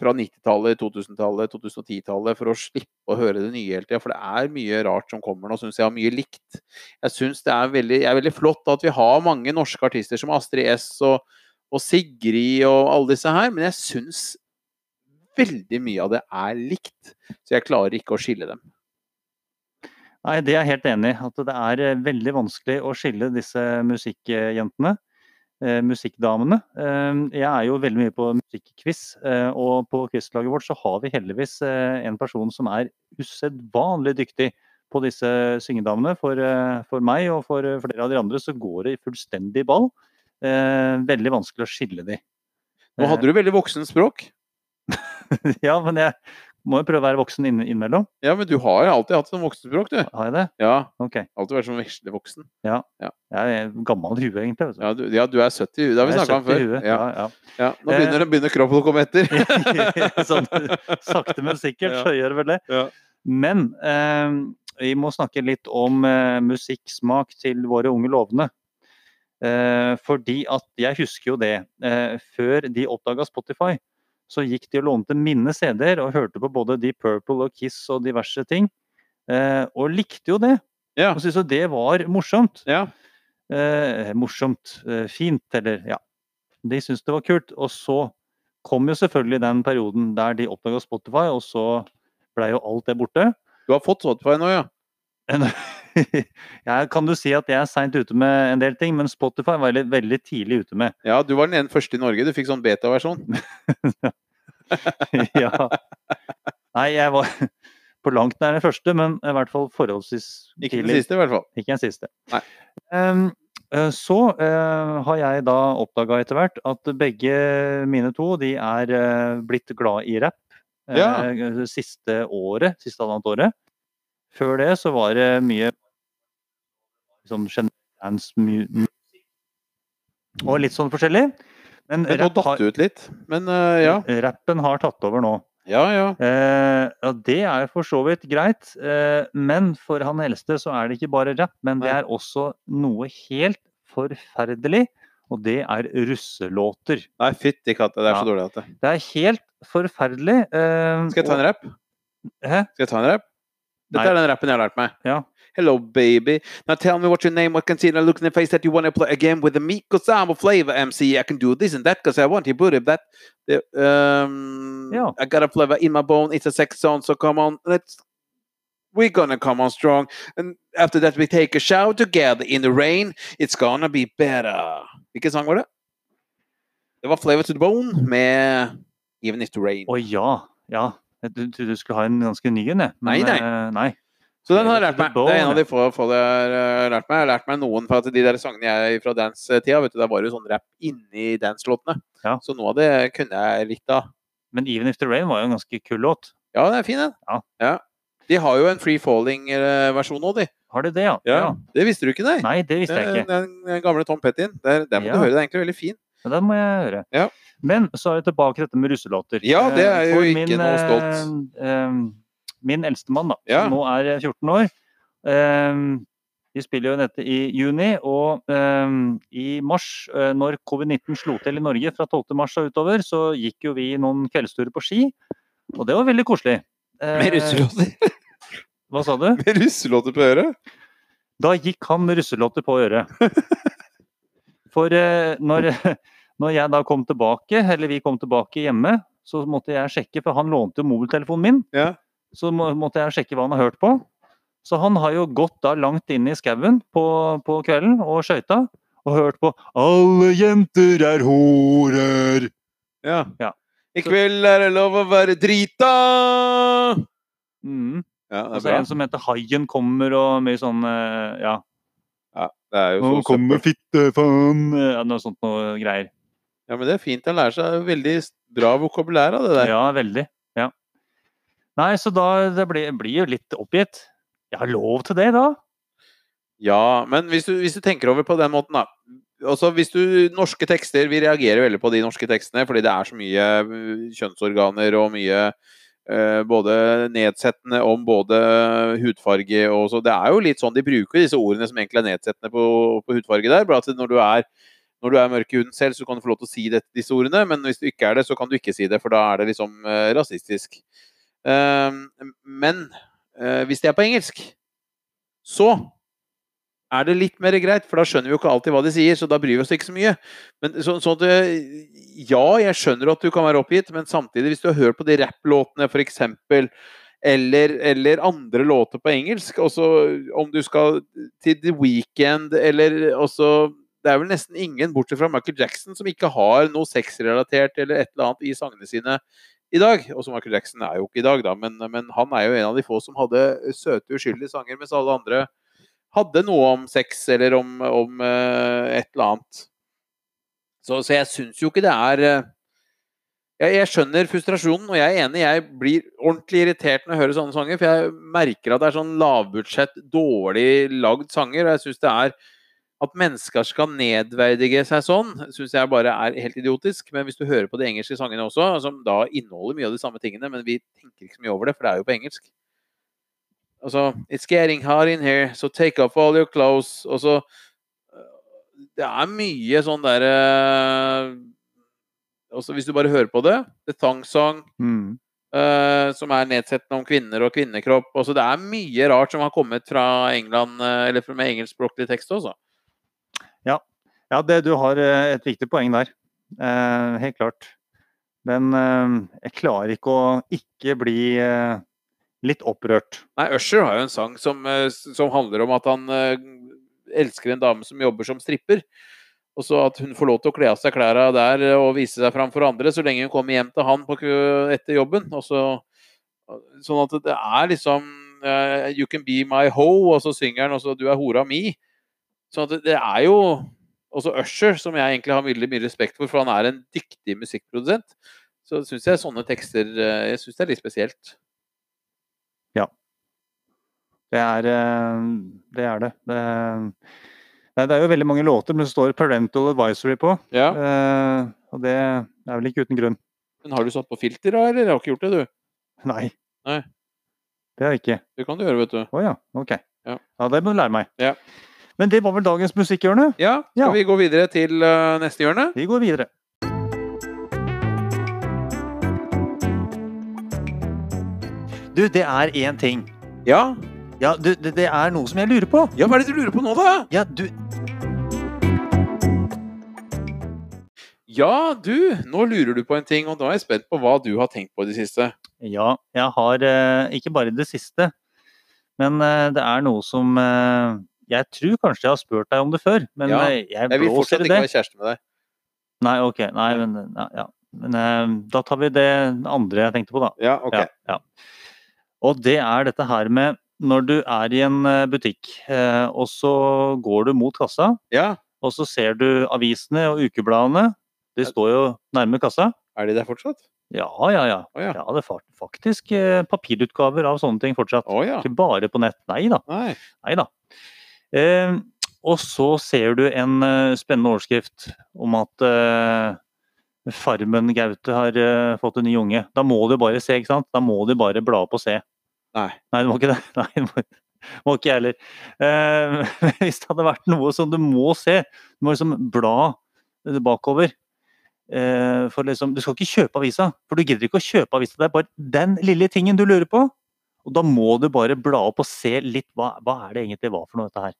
Speaker 1: fra 90-tallet, 2000-tallet, 2010-tallet, for å slippe å høre det nye hele tida. For det er mye rart som kommer nå, syns jeg, og mye likt. Jeg syns det er veldig, jeg er veldig flott at vi har mange norske artister som Astrid S og, og Sigrid og alle disse her, men jeg syns veldig mye av det er likt. Så jeg klarer ikke å skille dem.
Speaker 2: Nei, det er jeg helt enig i. At det er eh, veldig vanskelig å skille disse musikkjentene. eh, Musikkdamene. Eh, Jeg er jo veldig mye på musikkquiz, eh, og på quizlaget vårt så har vi heldigvis eh, en person som er usedvanlig dyktig på disse syngedamene. For, eh, for meg og for eh, flere av de andre så går det fullstendig i ball. Eh, Veldig vanskelig å skille de.
Speaker 1: Nå hadde du veldig voksen språk.
Speaker 2: Eh, Ja, men jeg må jo prøve å være voksen inn- innimellom.
Speaker 1: Ja, men du har jo alltid hatt sånn voksenspråk, du.
Speaker 2: Har jeg det?
Speaker 1: Ja,
Speaker 2: Ok.
Speaker 1: alltid vært sånn veslevoksen.
Speaker 2: Jeg er gammel i huet, egentlig. vet du.
Speaker 1: Ja, du- ja, du er 70 i huet. Det har vi
Speaker 2: Jeg er
Speaker 1: snakka om
Speaker 2: 70 i
Speaker 1: før.
Speaker 2: huet.
Speaker 1: Ja,
Speaker 2: ja. Eh.
Speaker 1: ja. Nå begynner, begynner kroppen å komme etter.
Speaker 2: sånn, sakte, men sikkert så gjør det vel det.
Speaker 1: Ja.
Speaker 2: Men eh, vi må snakke litt om eh, musikksmak til våre unge lovende. Eh, fordi at jeg husker jo det. Eh, før de oppdaga Spotify, så gikk de og lånte mine CD-er og hørte på både Deep Purple og Kiss og diverse ting. Eh, og likte jo det.
Speaker 1: Ja.
Speaker 2: Og syntes jo det var morsomt.
Speaker 1: Ja.
Speaker 2: Eh, morsomt, eh, fint, eller ja. De syntes det var kult. Og så kom jo selvfølgelig den perioden der de oppdaga Spotify, og så blei jo alt det borte.
Speaker 1: Du har fått Spotify nå, ja?
Speaker 2: Jeg kan du si at jeg er seint ute med en del ting, men Spotify var jeg veldig tidlig ute med.
Speaker 1: Ja, du var den ene første i Norge. Du fikk sånn beta-versjon.
Speaker 2: ja. Nei, jeg var på langt nær den første, men i hvert fall forholdsvis
Speaker 1: Ikke den siste, i hvert fall.
Speaker 2: Ikke den siste.
Speaker 1: Nei.
Speaker 2: Ehm, eh, så eh, har jeg da oppdaga etter hvert at begge mine to de er eh, blitt glad i rapp. eh,
Speaker 1: Ja.
Speaker 2: Siste året, siste halvannet året. Før det så var det mye sånn generell dance mu- musikk. Og litt sånn forskjellig. Men
Speaker 1: Men nå
Speaker 2: rapp
Speaker 1: datt
Speaker 2: har,
Speaker 1: du ut litt. Men eh, ja.
Speaker 2: rappen har tatt over nå.
Speaker 1: Ja, ja.
Speaker 2: Eh, ja, det er for så vidt greit, eh, men for han eldste så er det ikke bare rapp, men det
Speaker 1: Nei.
Speaker 2: er også noe helt forferdelig, og det er russelåter.
Speaker 1: Nei, fytti katta, det er så
Speaker 2: Ja.
Speaker 1: dårlig at det
Speaker 2: Det er helt forferdelig. eh,
Speaker 1: Skal jeg ta en rapp?
Speaker 2: Hæ?
Speaker 1: Skal jeg ta en rapp? Dette
Speaker 2: Nei.
Speaker 1: er den rappen jeg har lært meg.
Speaker 2: Ja.
Speaker 1: Hello, baby. Now tell me what your name, what concealer, look in the face that you want to play a game with me, because I'm a flavor MC. I can do this and that because I want you put it that. The, um,
Speaker 2: Ja.
Speaker 1: I got a flavor in my bone. It's a sex song, so come on. Let's. We're gonna come on strong. And after that, we take a shower together in the rain. It's gonna be better. Hvilken sang var det? Det var Flavor to the Bone med Even If The Rain.
Speaker 2: Å ja, ja. Jeg tro- trodde du skulle ha en ganske ny en, jeg.
Speaker 1: Nei,
Speaker 2: men,
Speaker 1: nei.
Speaker 2: eh, nei.
Speaker 1: Så den har jeg
Speaker 2: Flavor
Speaker 1: lært
Speaker 2: to the
Speaker 1: meg. Det er en
Speaker 2: Bone,
Speaker 1: av de få, få jeg har eh, lært meg. Jeg har lært meg noen for at de der sangene jeg fra dance-tida, vet du, der var jo sånn rapp inni dance-låtene.
Speaker 2: Ja.
Speaker 1: Så noe av det kunne jeg litt av.
Speaker 2: Men Even If The Rain var jo en ganske kul låt.
Speaker 1: Ja, den er fin, den.
Speaker 2: Ja.
Speaker 1: De har jo en free falling-versjon òg, de.
Speaker 2: Har du det, ja?
Speaker 1: Det visste du ikke, nei?
Speaker 2: Nei, det visste jeg ikke.
Speaker 1: Den, den, den gamle Tom Pettin. Der, der må
Speaker 2: Ja.
Speaker 1: du høre, den er egentlig veldig fin.
Speaker 2: Men den må jeg høre.
Speaker 1: Ja.
Speaker 2: Men så er vi tilbake til dette med russelåter.
Speaker 1: Ja, det er
Speaker 2: Eh,
Speaker 1: jo
Speaker 2: for
Speaker 1: ikke noe stolt.
Speaker 2: eh, eh, Min eldstemann, da,
Speaker 1: Ja.
Speaker 2: som nå er 14 år, eh, vi spiller jo dette i juni, og eh, i mars, eh, når covid-19 slo til i Norge fra 12. mars og utover, så gikk jo vi noen kveldsturer på ski, og det var veldig koselig. Eh,
Speaker 1: Med russelåter,
Speaker 2: Hva sa du?
Speaker 1: med russelåter på øret.
Speaker 2: Da gikk han med russelåter på øret. For eh, når, når jeg da kom tilbake, eller vi kom tilbake hjemme, så måtte jeg sjekke, for han lånte jo mobiltelefonen min.
Speaker 1: Ja.
Speaker 2: Så må, måtte jeg sjekke hva han har hørt på. Så han har jo gått da langt inn i skauen på, på kvelden og skøyta, og hørt på 'Alle jenter er horer'.
Speaker 1: Ja.
Speaker 2: Ja.
Speaker 1: I kveld er det lov å være drita!
Speaker 2: Mm.
Speaker 1: Ja, det
Speaker 2: Og
Speaker 1: er
Speaker 2: så
Speaker 1: bra.
Speaker 2: en som heter 'Haien kommer' og mye sånn eh, ja.
Speaker 1: Det er jo
Speaker 2: Nå
Speaker 1: så
Speaker 2: kommer
Speaker 1: søppel.
Speaker 2: fittefaen ja, Noe sånt noe greier.
Speaker 1: Ja, men det er fint. Han lærer seg veldig s- bra vokabulær av det der.
Speaker 2: Ja, veldig. Ja. Nei, så da det blir, blir jo litt oppgitt. Jeg har lov til det, da.
Speaker 1: Ja, men hvis du, hvis du tenker over på den måten, da. Også hvis du, norske tekster, Vi reagerer veldig på de norske tekstene, fordi det er så mye øh, kjønnsorganer og mye øh, både nedsettende om både hudfarge og så Det er jo litt sånn de bruker disse ordene som egentlig er nedsettende på, på hudfarge der. Bare at når du er når du er mørk i huden selv, så kan du få lov til å si det, disse ordene, men hvis du ikke er det, så kan du ikke si det, for da er det liksom øh, rasistisk. Ehm, men øh, hvis det er på engelsk, så er det litt mer greit, for da skjønner vi jo ikke alltid hva de sier, så da bryr vi oss ikke så mye. Men så, sånn at eh, Ja, jeg skjønner at du kan være oppgitt, men samtidig, hvis du har hørt på de rapplåtene, f.eks., eller, eller andre låter på engelsk, også om du skal til The Weekend, eller også Det er vel nesten ingen, bortsett fra Michael Jackson, som ikke har noe sexrelatert eller et eller annet i sangene sine i dag. Også Michael Jackson er jo ikke i dag, da, men, men han er jo en av de få som hadde søte, uskyldige sanger, mens alle andre hadde noe om sex eller om, om eh, et eller annet. Så, så jeg syns jo ikke det er eh, jeg, jeg skjønner frustrasjonen, og jeg er enig. Jeg blir ordentlig irritert når jeg hører sånne sanger, for jeg merker at det er sånn lavbudsjett, dårlig lagd sanger. Og jeg syns det er at mennesker skal nedverdige seg sånn, syns jeg bare er helt idiotisk. Men hvis du hører på de engelske sangene også, som da inneholder mye av de samme tingene, men vi tenker ikke så mye over det, for det er jo på engelsk. Altså It's getting hot in here, so take off all your clothes. Og så øh, Det er mye sånn derre Også hvis du bare hører på det. The Thong Song,
Speaker 2: Mm.
Speaker 1: øh, som er nedsettende om kvinner og kvinnekropp. Altså det er mye rart som har kommet fra England, øh, eller fra- med engelskspråklig tekst også.
Speaker 2: Ja, det, du har eh, et viktig poeng der. Eh, helt klart. Men eh, jeg klarer ikke å ikke bli eh, litt opprørt.
Speaker 1: Nei, Usher har jo en sang som, eh, s- som handler om at han eh, elsker en dame som jobber som stripper. Og så at hun får lov til å kle av seg klærne der eh, og vise seg fram for andre så lenge hun kommer hjem til han på, kø- etter jobben. Og så, sånn at det er liksom eh, You can be my hoe, og så synger han også Du er hora mi. Sånn at det- det er jo også Usher, som jeg egentlig har veldig mye respekt for, for han er en dyktig musikkprodusent. Så syns jeg sånne tekster eh, Jeg syns det er litt spesielt.
Speaker 2: Det er eh, det. Er det. Det, nei, det er jo veldig mange låter, men det står 'Parental Advisory' på.
Speaker 1: Ja.
Speaker 2: Eh, og det er vel ikke uten grunn.
Speaker 1: Men har du satt på filter da, eller? Jeg har ikke gjort det, du.
Speaker 2: Nei.
Speaker 1: Nei.
Speaker 2: Det er det ikke.
Speaker 1: Det kan du gjøre, vet du.
Speaker 2: Å ja, ok.
Speaker 1: Ja.
Speaker 2: det må du lære meg.
Speaker 1: Ja.
Speaker 2: Men det var vel dagens musikkhjørne.
Speaker 1: Ja, skal
Speaker 2: Ja.
Speaker 1: vi gå videre til eh, neste hjørne?
Speaker 2: Vi går videre. Du, det er én ting.
Speaker 1: Ja.
Speaker 2: Ja, du, det, det er noe som jeg lurer på.
Speaker 1: ja. Hva er det du lurer på nå, da?
Speaker 2: Ja, du
Speaker 1: Ja, du. Nå lurer du på en ting, og nå er jeg spent på hva du har tenkt på i det siste.
Speaker 2: Ja, jeg har eh, ikke bare i det siste, men eh, det er noe som eh, Jeg tror kanskje jeg har spurt deg om det før, men
Speaker 1: Ja,
Speaker 2: eh, jeg
Speaker 1: Jeg vil
Speaker 2: blåser
Speaker 1: fortsatt
Speaker 2: i
Speaker 1: ikke
Speaker 2: det.
Speaker 1: være kjæreste med deg.
Speaker 2: Nei, ok. Nei, men, ja, ja. men eh, da tar vi det andre jeg tenkte på, da.
Speaker 1: Ja, ok.
Speaker 2: Ja, ja. Og det er dette her med når du er i en eh, butikk, eh, og så går du mot kassa,
Speaker 1: Ja.
Speaker 2: og så ser du avisene og ukebladene. De står jo nærme kassa.
Speaker 1: Er de der fortsatt?
Speaker 2: Ja, ja, ja.
Speaker 1: Å ja.
Speaker 2: ja det er fa- faktisk eh, papirutgaver av sånne ting fortsatt.
Speaker 1: Å ja.
Speaker 2: Ikke bare på nett. Nei da.
Speaker 1: Nei.
Speaker 2: Nei da. Eh, og så ser du en eh, spennende overskrift om at eh, Farmen Gaute har eh, fått en ny unge. Da må du bare se, ikke sant? Da må du bare bla opp og se.
Speaker 1: Nei.
Speaker 2: Nei, du må ikke det. Nei, du må, må ikke jeg heller. Eh, men hvis det hadde vært noe som du må se, du må liksom bla bakover. Eh, for liksom, du skal ikke kjøpe avisa, for du gidder ikke å kjøpe avisa. Det er bare den lille tingen du lurer på. Og da må du bare bla opp og se litt hva, hva er det egentlig var for noe dette her.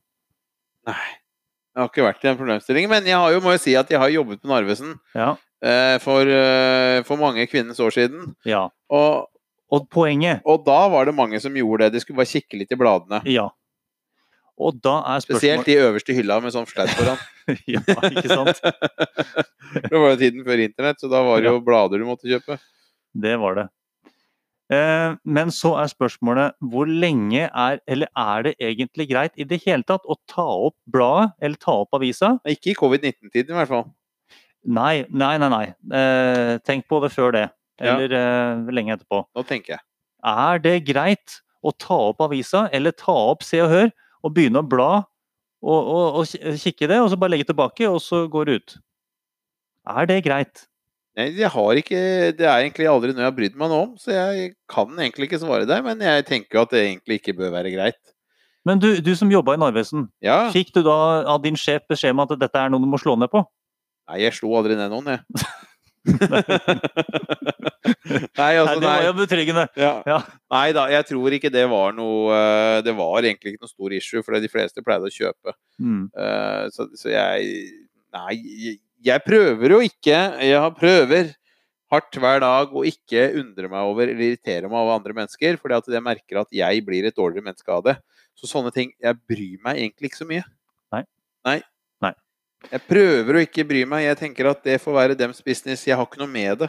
Speaker 1: Jeg har ikke vært i den problemstillingen, men jeg har jo, må jo si at jeg har jobbet med Narvesen
Speaker 2: Ja,
Speaker 1: eh, for, eh, for mange kvinnens år siden.
Speaker 2: ja.
Speaker 1: Og,
Speaker 2: Og poenget
Speaker 1: og da var det mange som gjorde det. De skulle bare kikke litt i bladene.
Speaker 2: Ja. Og da er
Speaker 1: Spesielt
Speaker 2: spørsmålet
Speaker 1: de øverste hylla med sånn sledd foran.
Speaker 2: Ja, ikke sant?
Speaker 1: Det var jo tiden før internett, så da var det jo blader du måtte kjøpe.
Speaker 2: Det var det. Eh, Men så er spørsmålet hvor lenge er Eller er det egentlig greit i det hele tatt å ta opp bladet eller ta opp avisa?
Speaker 1: Nei, Ikke i covid-19-tiden i hvert fall.
Speaker 2: Nei, nei, nei. nei. Eh, Tenk på det før det.
Speaker 1: Ja.
Speaker 2: Eller eh, lenge etterpå.
Speaker 1: Nå tenker jeg.
Speaker 2: Er det greit å ta opp avisa eller ta opp Se og Hør og begynne å bla og, og, og ki- kikke i det, og så bare legge tilbake, og så går det ut? Er det greit?
Speaker 1: Nei, jeg har ikke, det er egentlig aldri noe jeg har brydd meg noe om, så jeg kan egentlig ikke svare deg. Men jeg tenker jo at det egentlig ikke bør være greit.
Speaker 2: Men du, du som jobba i Narvesen,
Speaker 1: Ja.
Speaker 2: fikk du da av din sjef beskjed om at dette er noe du må slå ned på?
Speaker 1: Nei, jeg slo aldri ned noen, jeg. nei,
Speaker 2: Nei,
Speaker 1: altså,
Speaker 2: det var
Speaker 1: nei.
Speaker 2: jo betryggende.
Speaker 1: Ja.
Speaker 2: Ja.
Speaker 1: Nei da, jeg tror ikke det var noe eh, Det var egentlig ikke noe stor issue, for de fleste pleide å kjøpe.
Speaker 2: Mm.
Speaker 1: Eh, så, så jeg Nei, jeg, jeg prøver jo ikke. Jeg har- prøver hardt hver dag å ikke undre meg over eller irritere meg over andre mennesker, fordi at jeg merker at jeg blir et dårligere menneske av det. Så sånne ting Jeg bryr meg egentlig ikke så mye.
Speaker 2: Nei.
Speaker 1: Nei.
Speaker 2: Nei.
Speaker 1: Jeg prøver å ikke bry meg. Jeg tenker at det får være dems business. Jeg har ikke noe med det.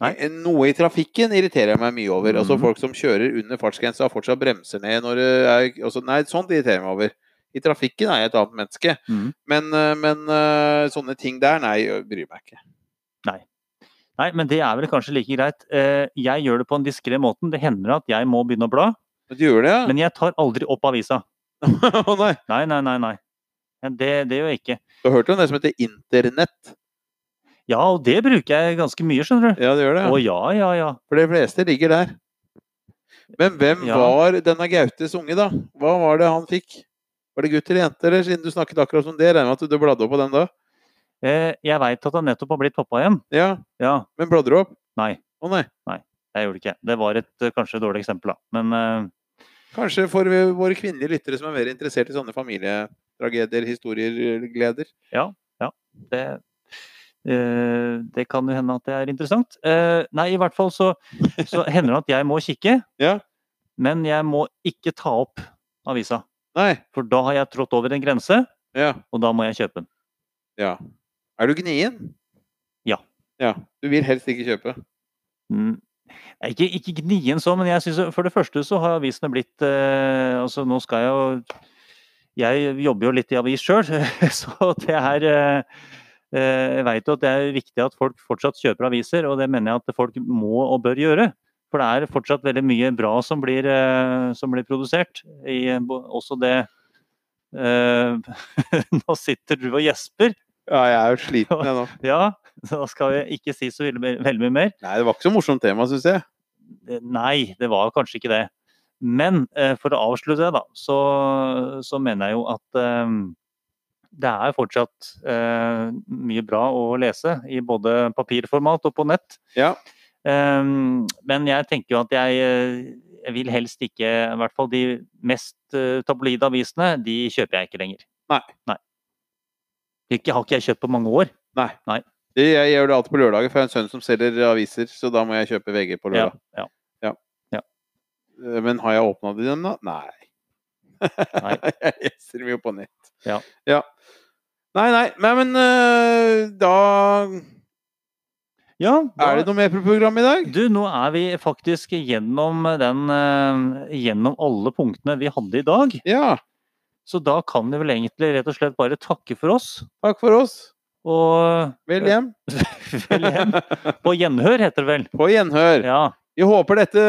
Speaker 2: Nei.
Speaker 1: Eh, Noe i trafikken irriterer jeg meg mye over. Altså
Speaker 2: Mhm.
Speaker 1: Folk som kjører under fartsgrensa og fortsatt bremser ned når det er altså, Nei, sånt irriterer jeg meg over. I trafikken er jeg et annet menneske.
Speaker 2: Mhm.
Speaker 1: Men, eh, men eh, sånne ting der, nei, jeg bryr meg ikke.
Speaker 2: Nei, men det er vel kanskje like greit. Eh, Jeg gjør det på en diskré måte. Det hender at jeg må begynne å bla,
Speaker 1: Men du gjør det, ja?
Speaker 2: men jeg tar aldri opp avisa.
Speaker 1: Å nei.
Speaker 2: Nei, nei, nei. nei. Ja, Det, det gjør jeg ikke.
Speaker 1: Du har hørt om det som heter internett?
Speaker 2: Ja, og det bruker jeg ganske mye, skjønner du.
Speaker 1: Ja, det gjør det.
Speaker 2: Å ja, ja, ja.
Speaker 1: For de fleste ligger der. Men hvem
Speaker 2: Ja.
Speaker 1: var denne Gautes unge, da? Hva var det han fikk? Var det gutt eller jente, eller? Siden du snakket akkurat om det, regner jeg med at du bladde opp på den da?
Speaker 2: Eh, Jeg veit at han nettopp har blitt pappa igjen.
Speaker 1: Ja,
Speaker 2: Ja,
Speaker 1: men bladde du opp?
Speaker 2: Nei.
Speaker 1: Å nei.
Speaker 2: jeg gjorde det ikke. Det var et eh, kanskje dårlig eksempel, da. Men eh,
Speaker 1: Kanskje for vi- våre kvinnelige lyttere som er mer interessert i sånne familietragedier, historier, gleder.
Speaker 2: det, eh, det kan jo hende at det er interessant. Eh, nei, i hvert fall så, så hender det at jeg må kikke,
Speaker 1: Ja.
Speaker 2: men jeg må ikke ta opp avisa.
Speaker 1: Nei.
Speaker 2: For da har jeg trådt over en grense,
Speaker 1: Ja.
Speaker 2: og da må jeg kjøpe den.
Speaker 1: ja. Er du gnien?
Speaker 2: Ja.
Speaker 1: ja. Du vil helst ikke kjøpe?
Speaker 2: Mm. Nei, Ikke, ikke gnien så, men jeg synes, jo- for det første så har avisene blitt eh, Altså, nå skal jeg jo Jeg jobber jo litt i avis sjøl, så det er eh, eh, Jeg veit jo at det er viktig at folk fortsatt kjøper aviser, og det mener jeg at folk må og bør gjøre. For det er fortsatt veldig mye bra som blir, eh, som blir produsert. I, eh, bo- også det eh, Nå sitter du og gjesper.
Speaker 1: Ja, jeg er jo sliten jeg nå.
Speaker 2: Ja, så da skal jeg ikke si så veldig veldig mye mer.
Speaker 1: Nei, det var ikke så morsomt tema, syns jeg.
Speaker 2: Eh, Nei, det var kanskje ikke det. Men eh, for å avslutte det, da, så, så mener jeg jo at eh, det er fortsatt eh, mye bra å lese i både papirformat og på nett.
Speaker 1: Ja.
Speaker 2: Eh, men jeg tenker jo at jeg, eh, jeg vil helst ikke, i hvert fall de mest eh, tabloide avisene, de kjøper jeg ikke lenger.
Speaker 1: Nei.
Speaker 2: Nei. Ikke har ikke jeg kjøpt på mange år.
Speaker 1: Det, jeg gjør det alltid på lørdager, for jeg har en sønn som selger aviser, så da må jeg kjøpe VG på lørdag.
Speaker 2: Ja,
Speaker 1: Eh, Men har jeg åpna dem, da? Nei.
Speaker 2: Nei.
Speaker 1: jeg leser dem jo på nett.
Speaker 2: Ja.
Speaker 1: Nei, nei, nei, men eh, da
Speaker 2: ja da-
Speaker 1: Er det noe mer på programmet i dag?
Speaker 2: Du, nå er vi faktisk gjennom, den, eh, gjennom alle punktene vi hadde i dag.
Speaker 1: Ja.
Speaker 2: Så da kan vi vel egentlig rett og slett bare takke for oss.
Speaker 1: Takk for oss.
Speaker 2: Og
Speaker 1: Vel hjem.
Speaker 2: vel hjem. På gjenhør, heter det vel.
Speaker 1: På gjenhør.
Speaker 2: Ja.
Speaker 1: Vi håper dette,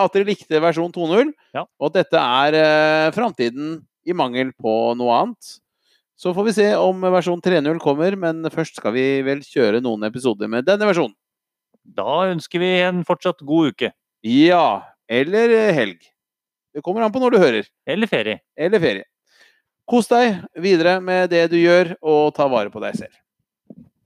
Speaker 1: at dere likte versjon 2.0,
Speaker 2: Ja.
Speaker 1: og at dette er eh, framtiden i mangel på noe annet. Så får vi se om versjon 3.0 kommer, men først skal vi vel kjøre noen episoder med denne versjonen.
Speaker 2: Da ønsker vi en fortsatt god uke.
Speaker 1: Ja, eller helg. Det kommer an på når du hører.
Speaker 2: Eller ferie.
Speaker 1: Eller ferie. Kos deg videre med det du gjør, og ta vare på deg selv.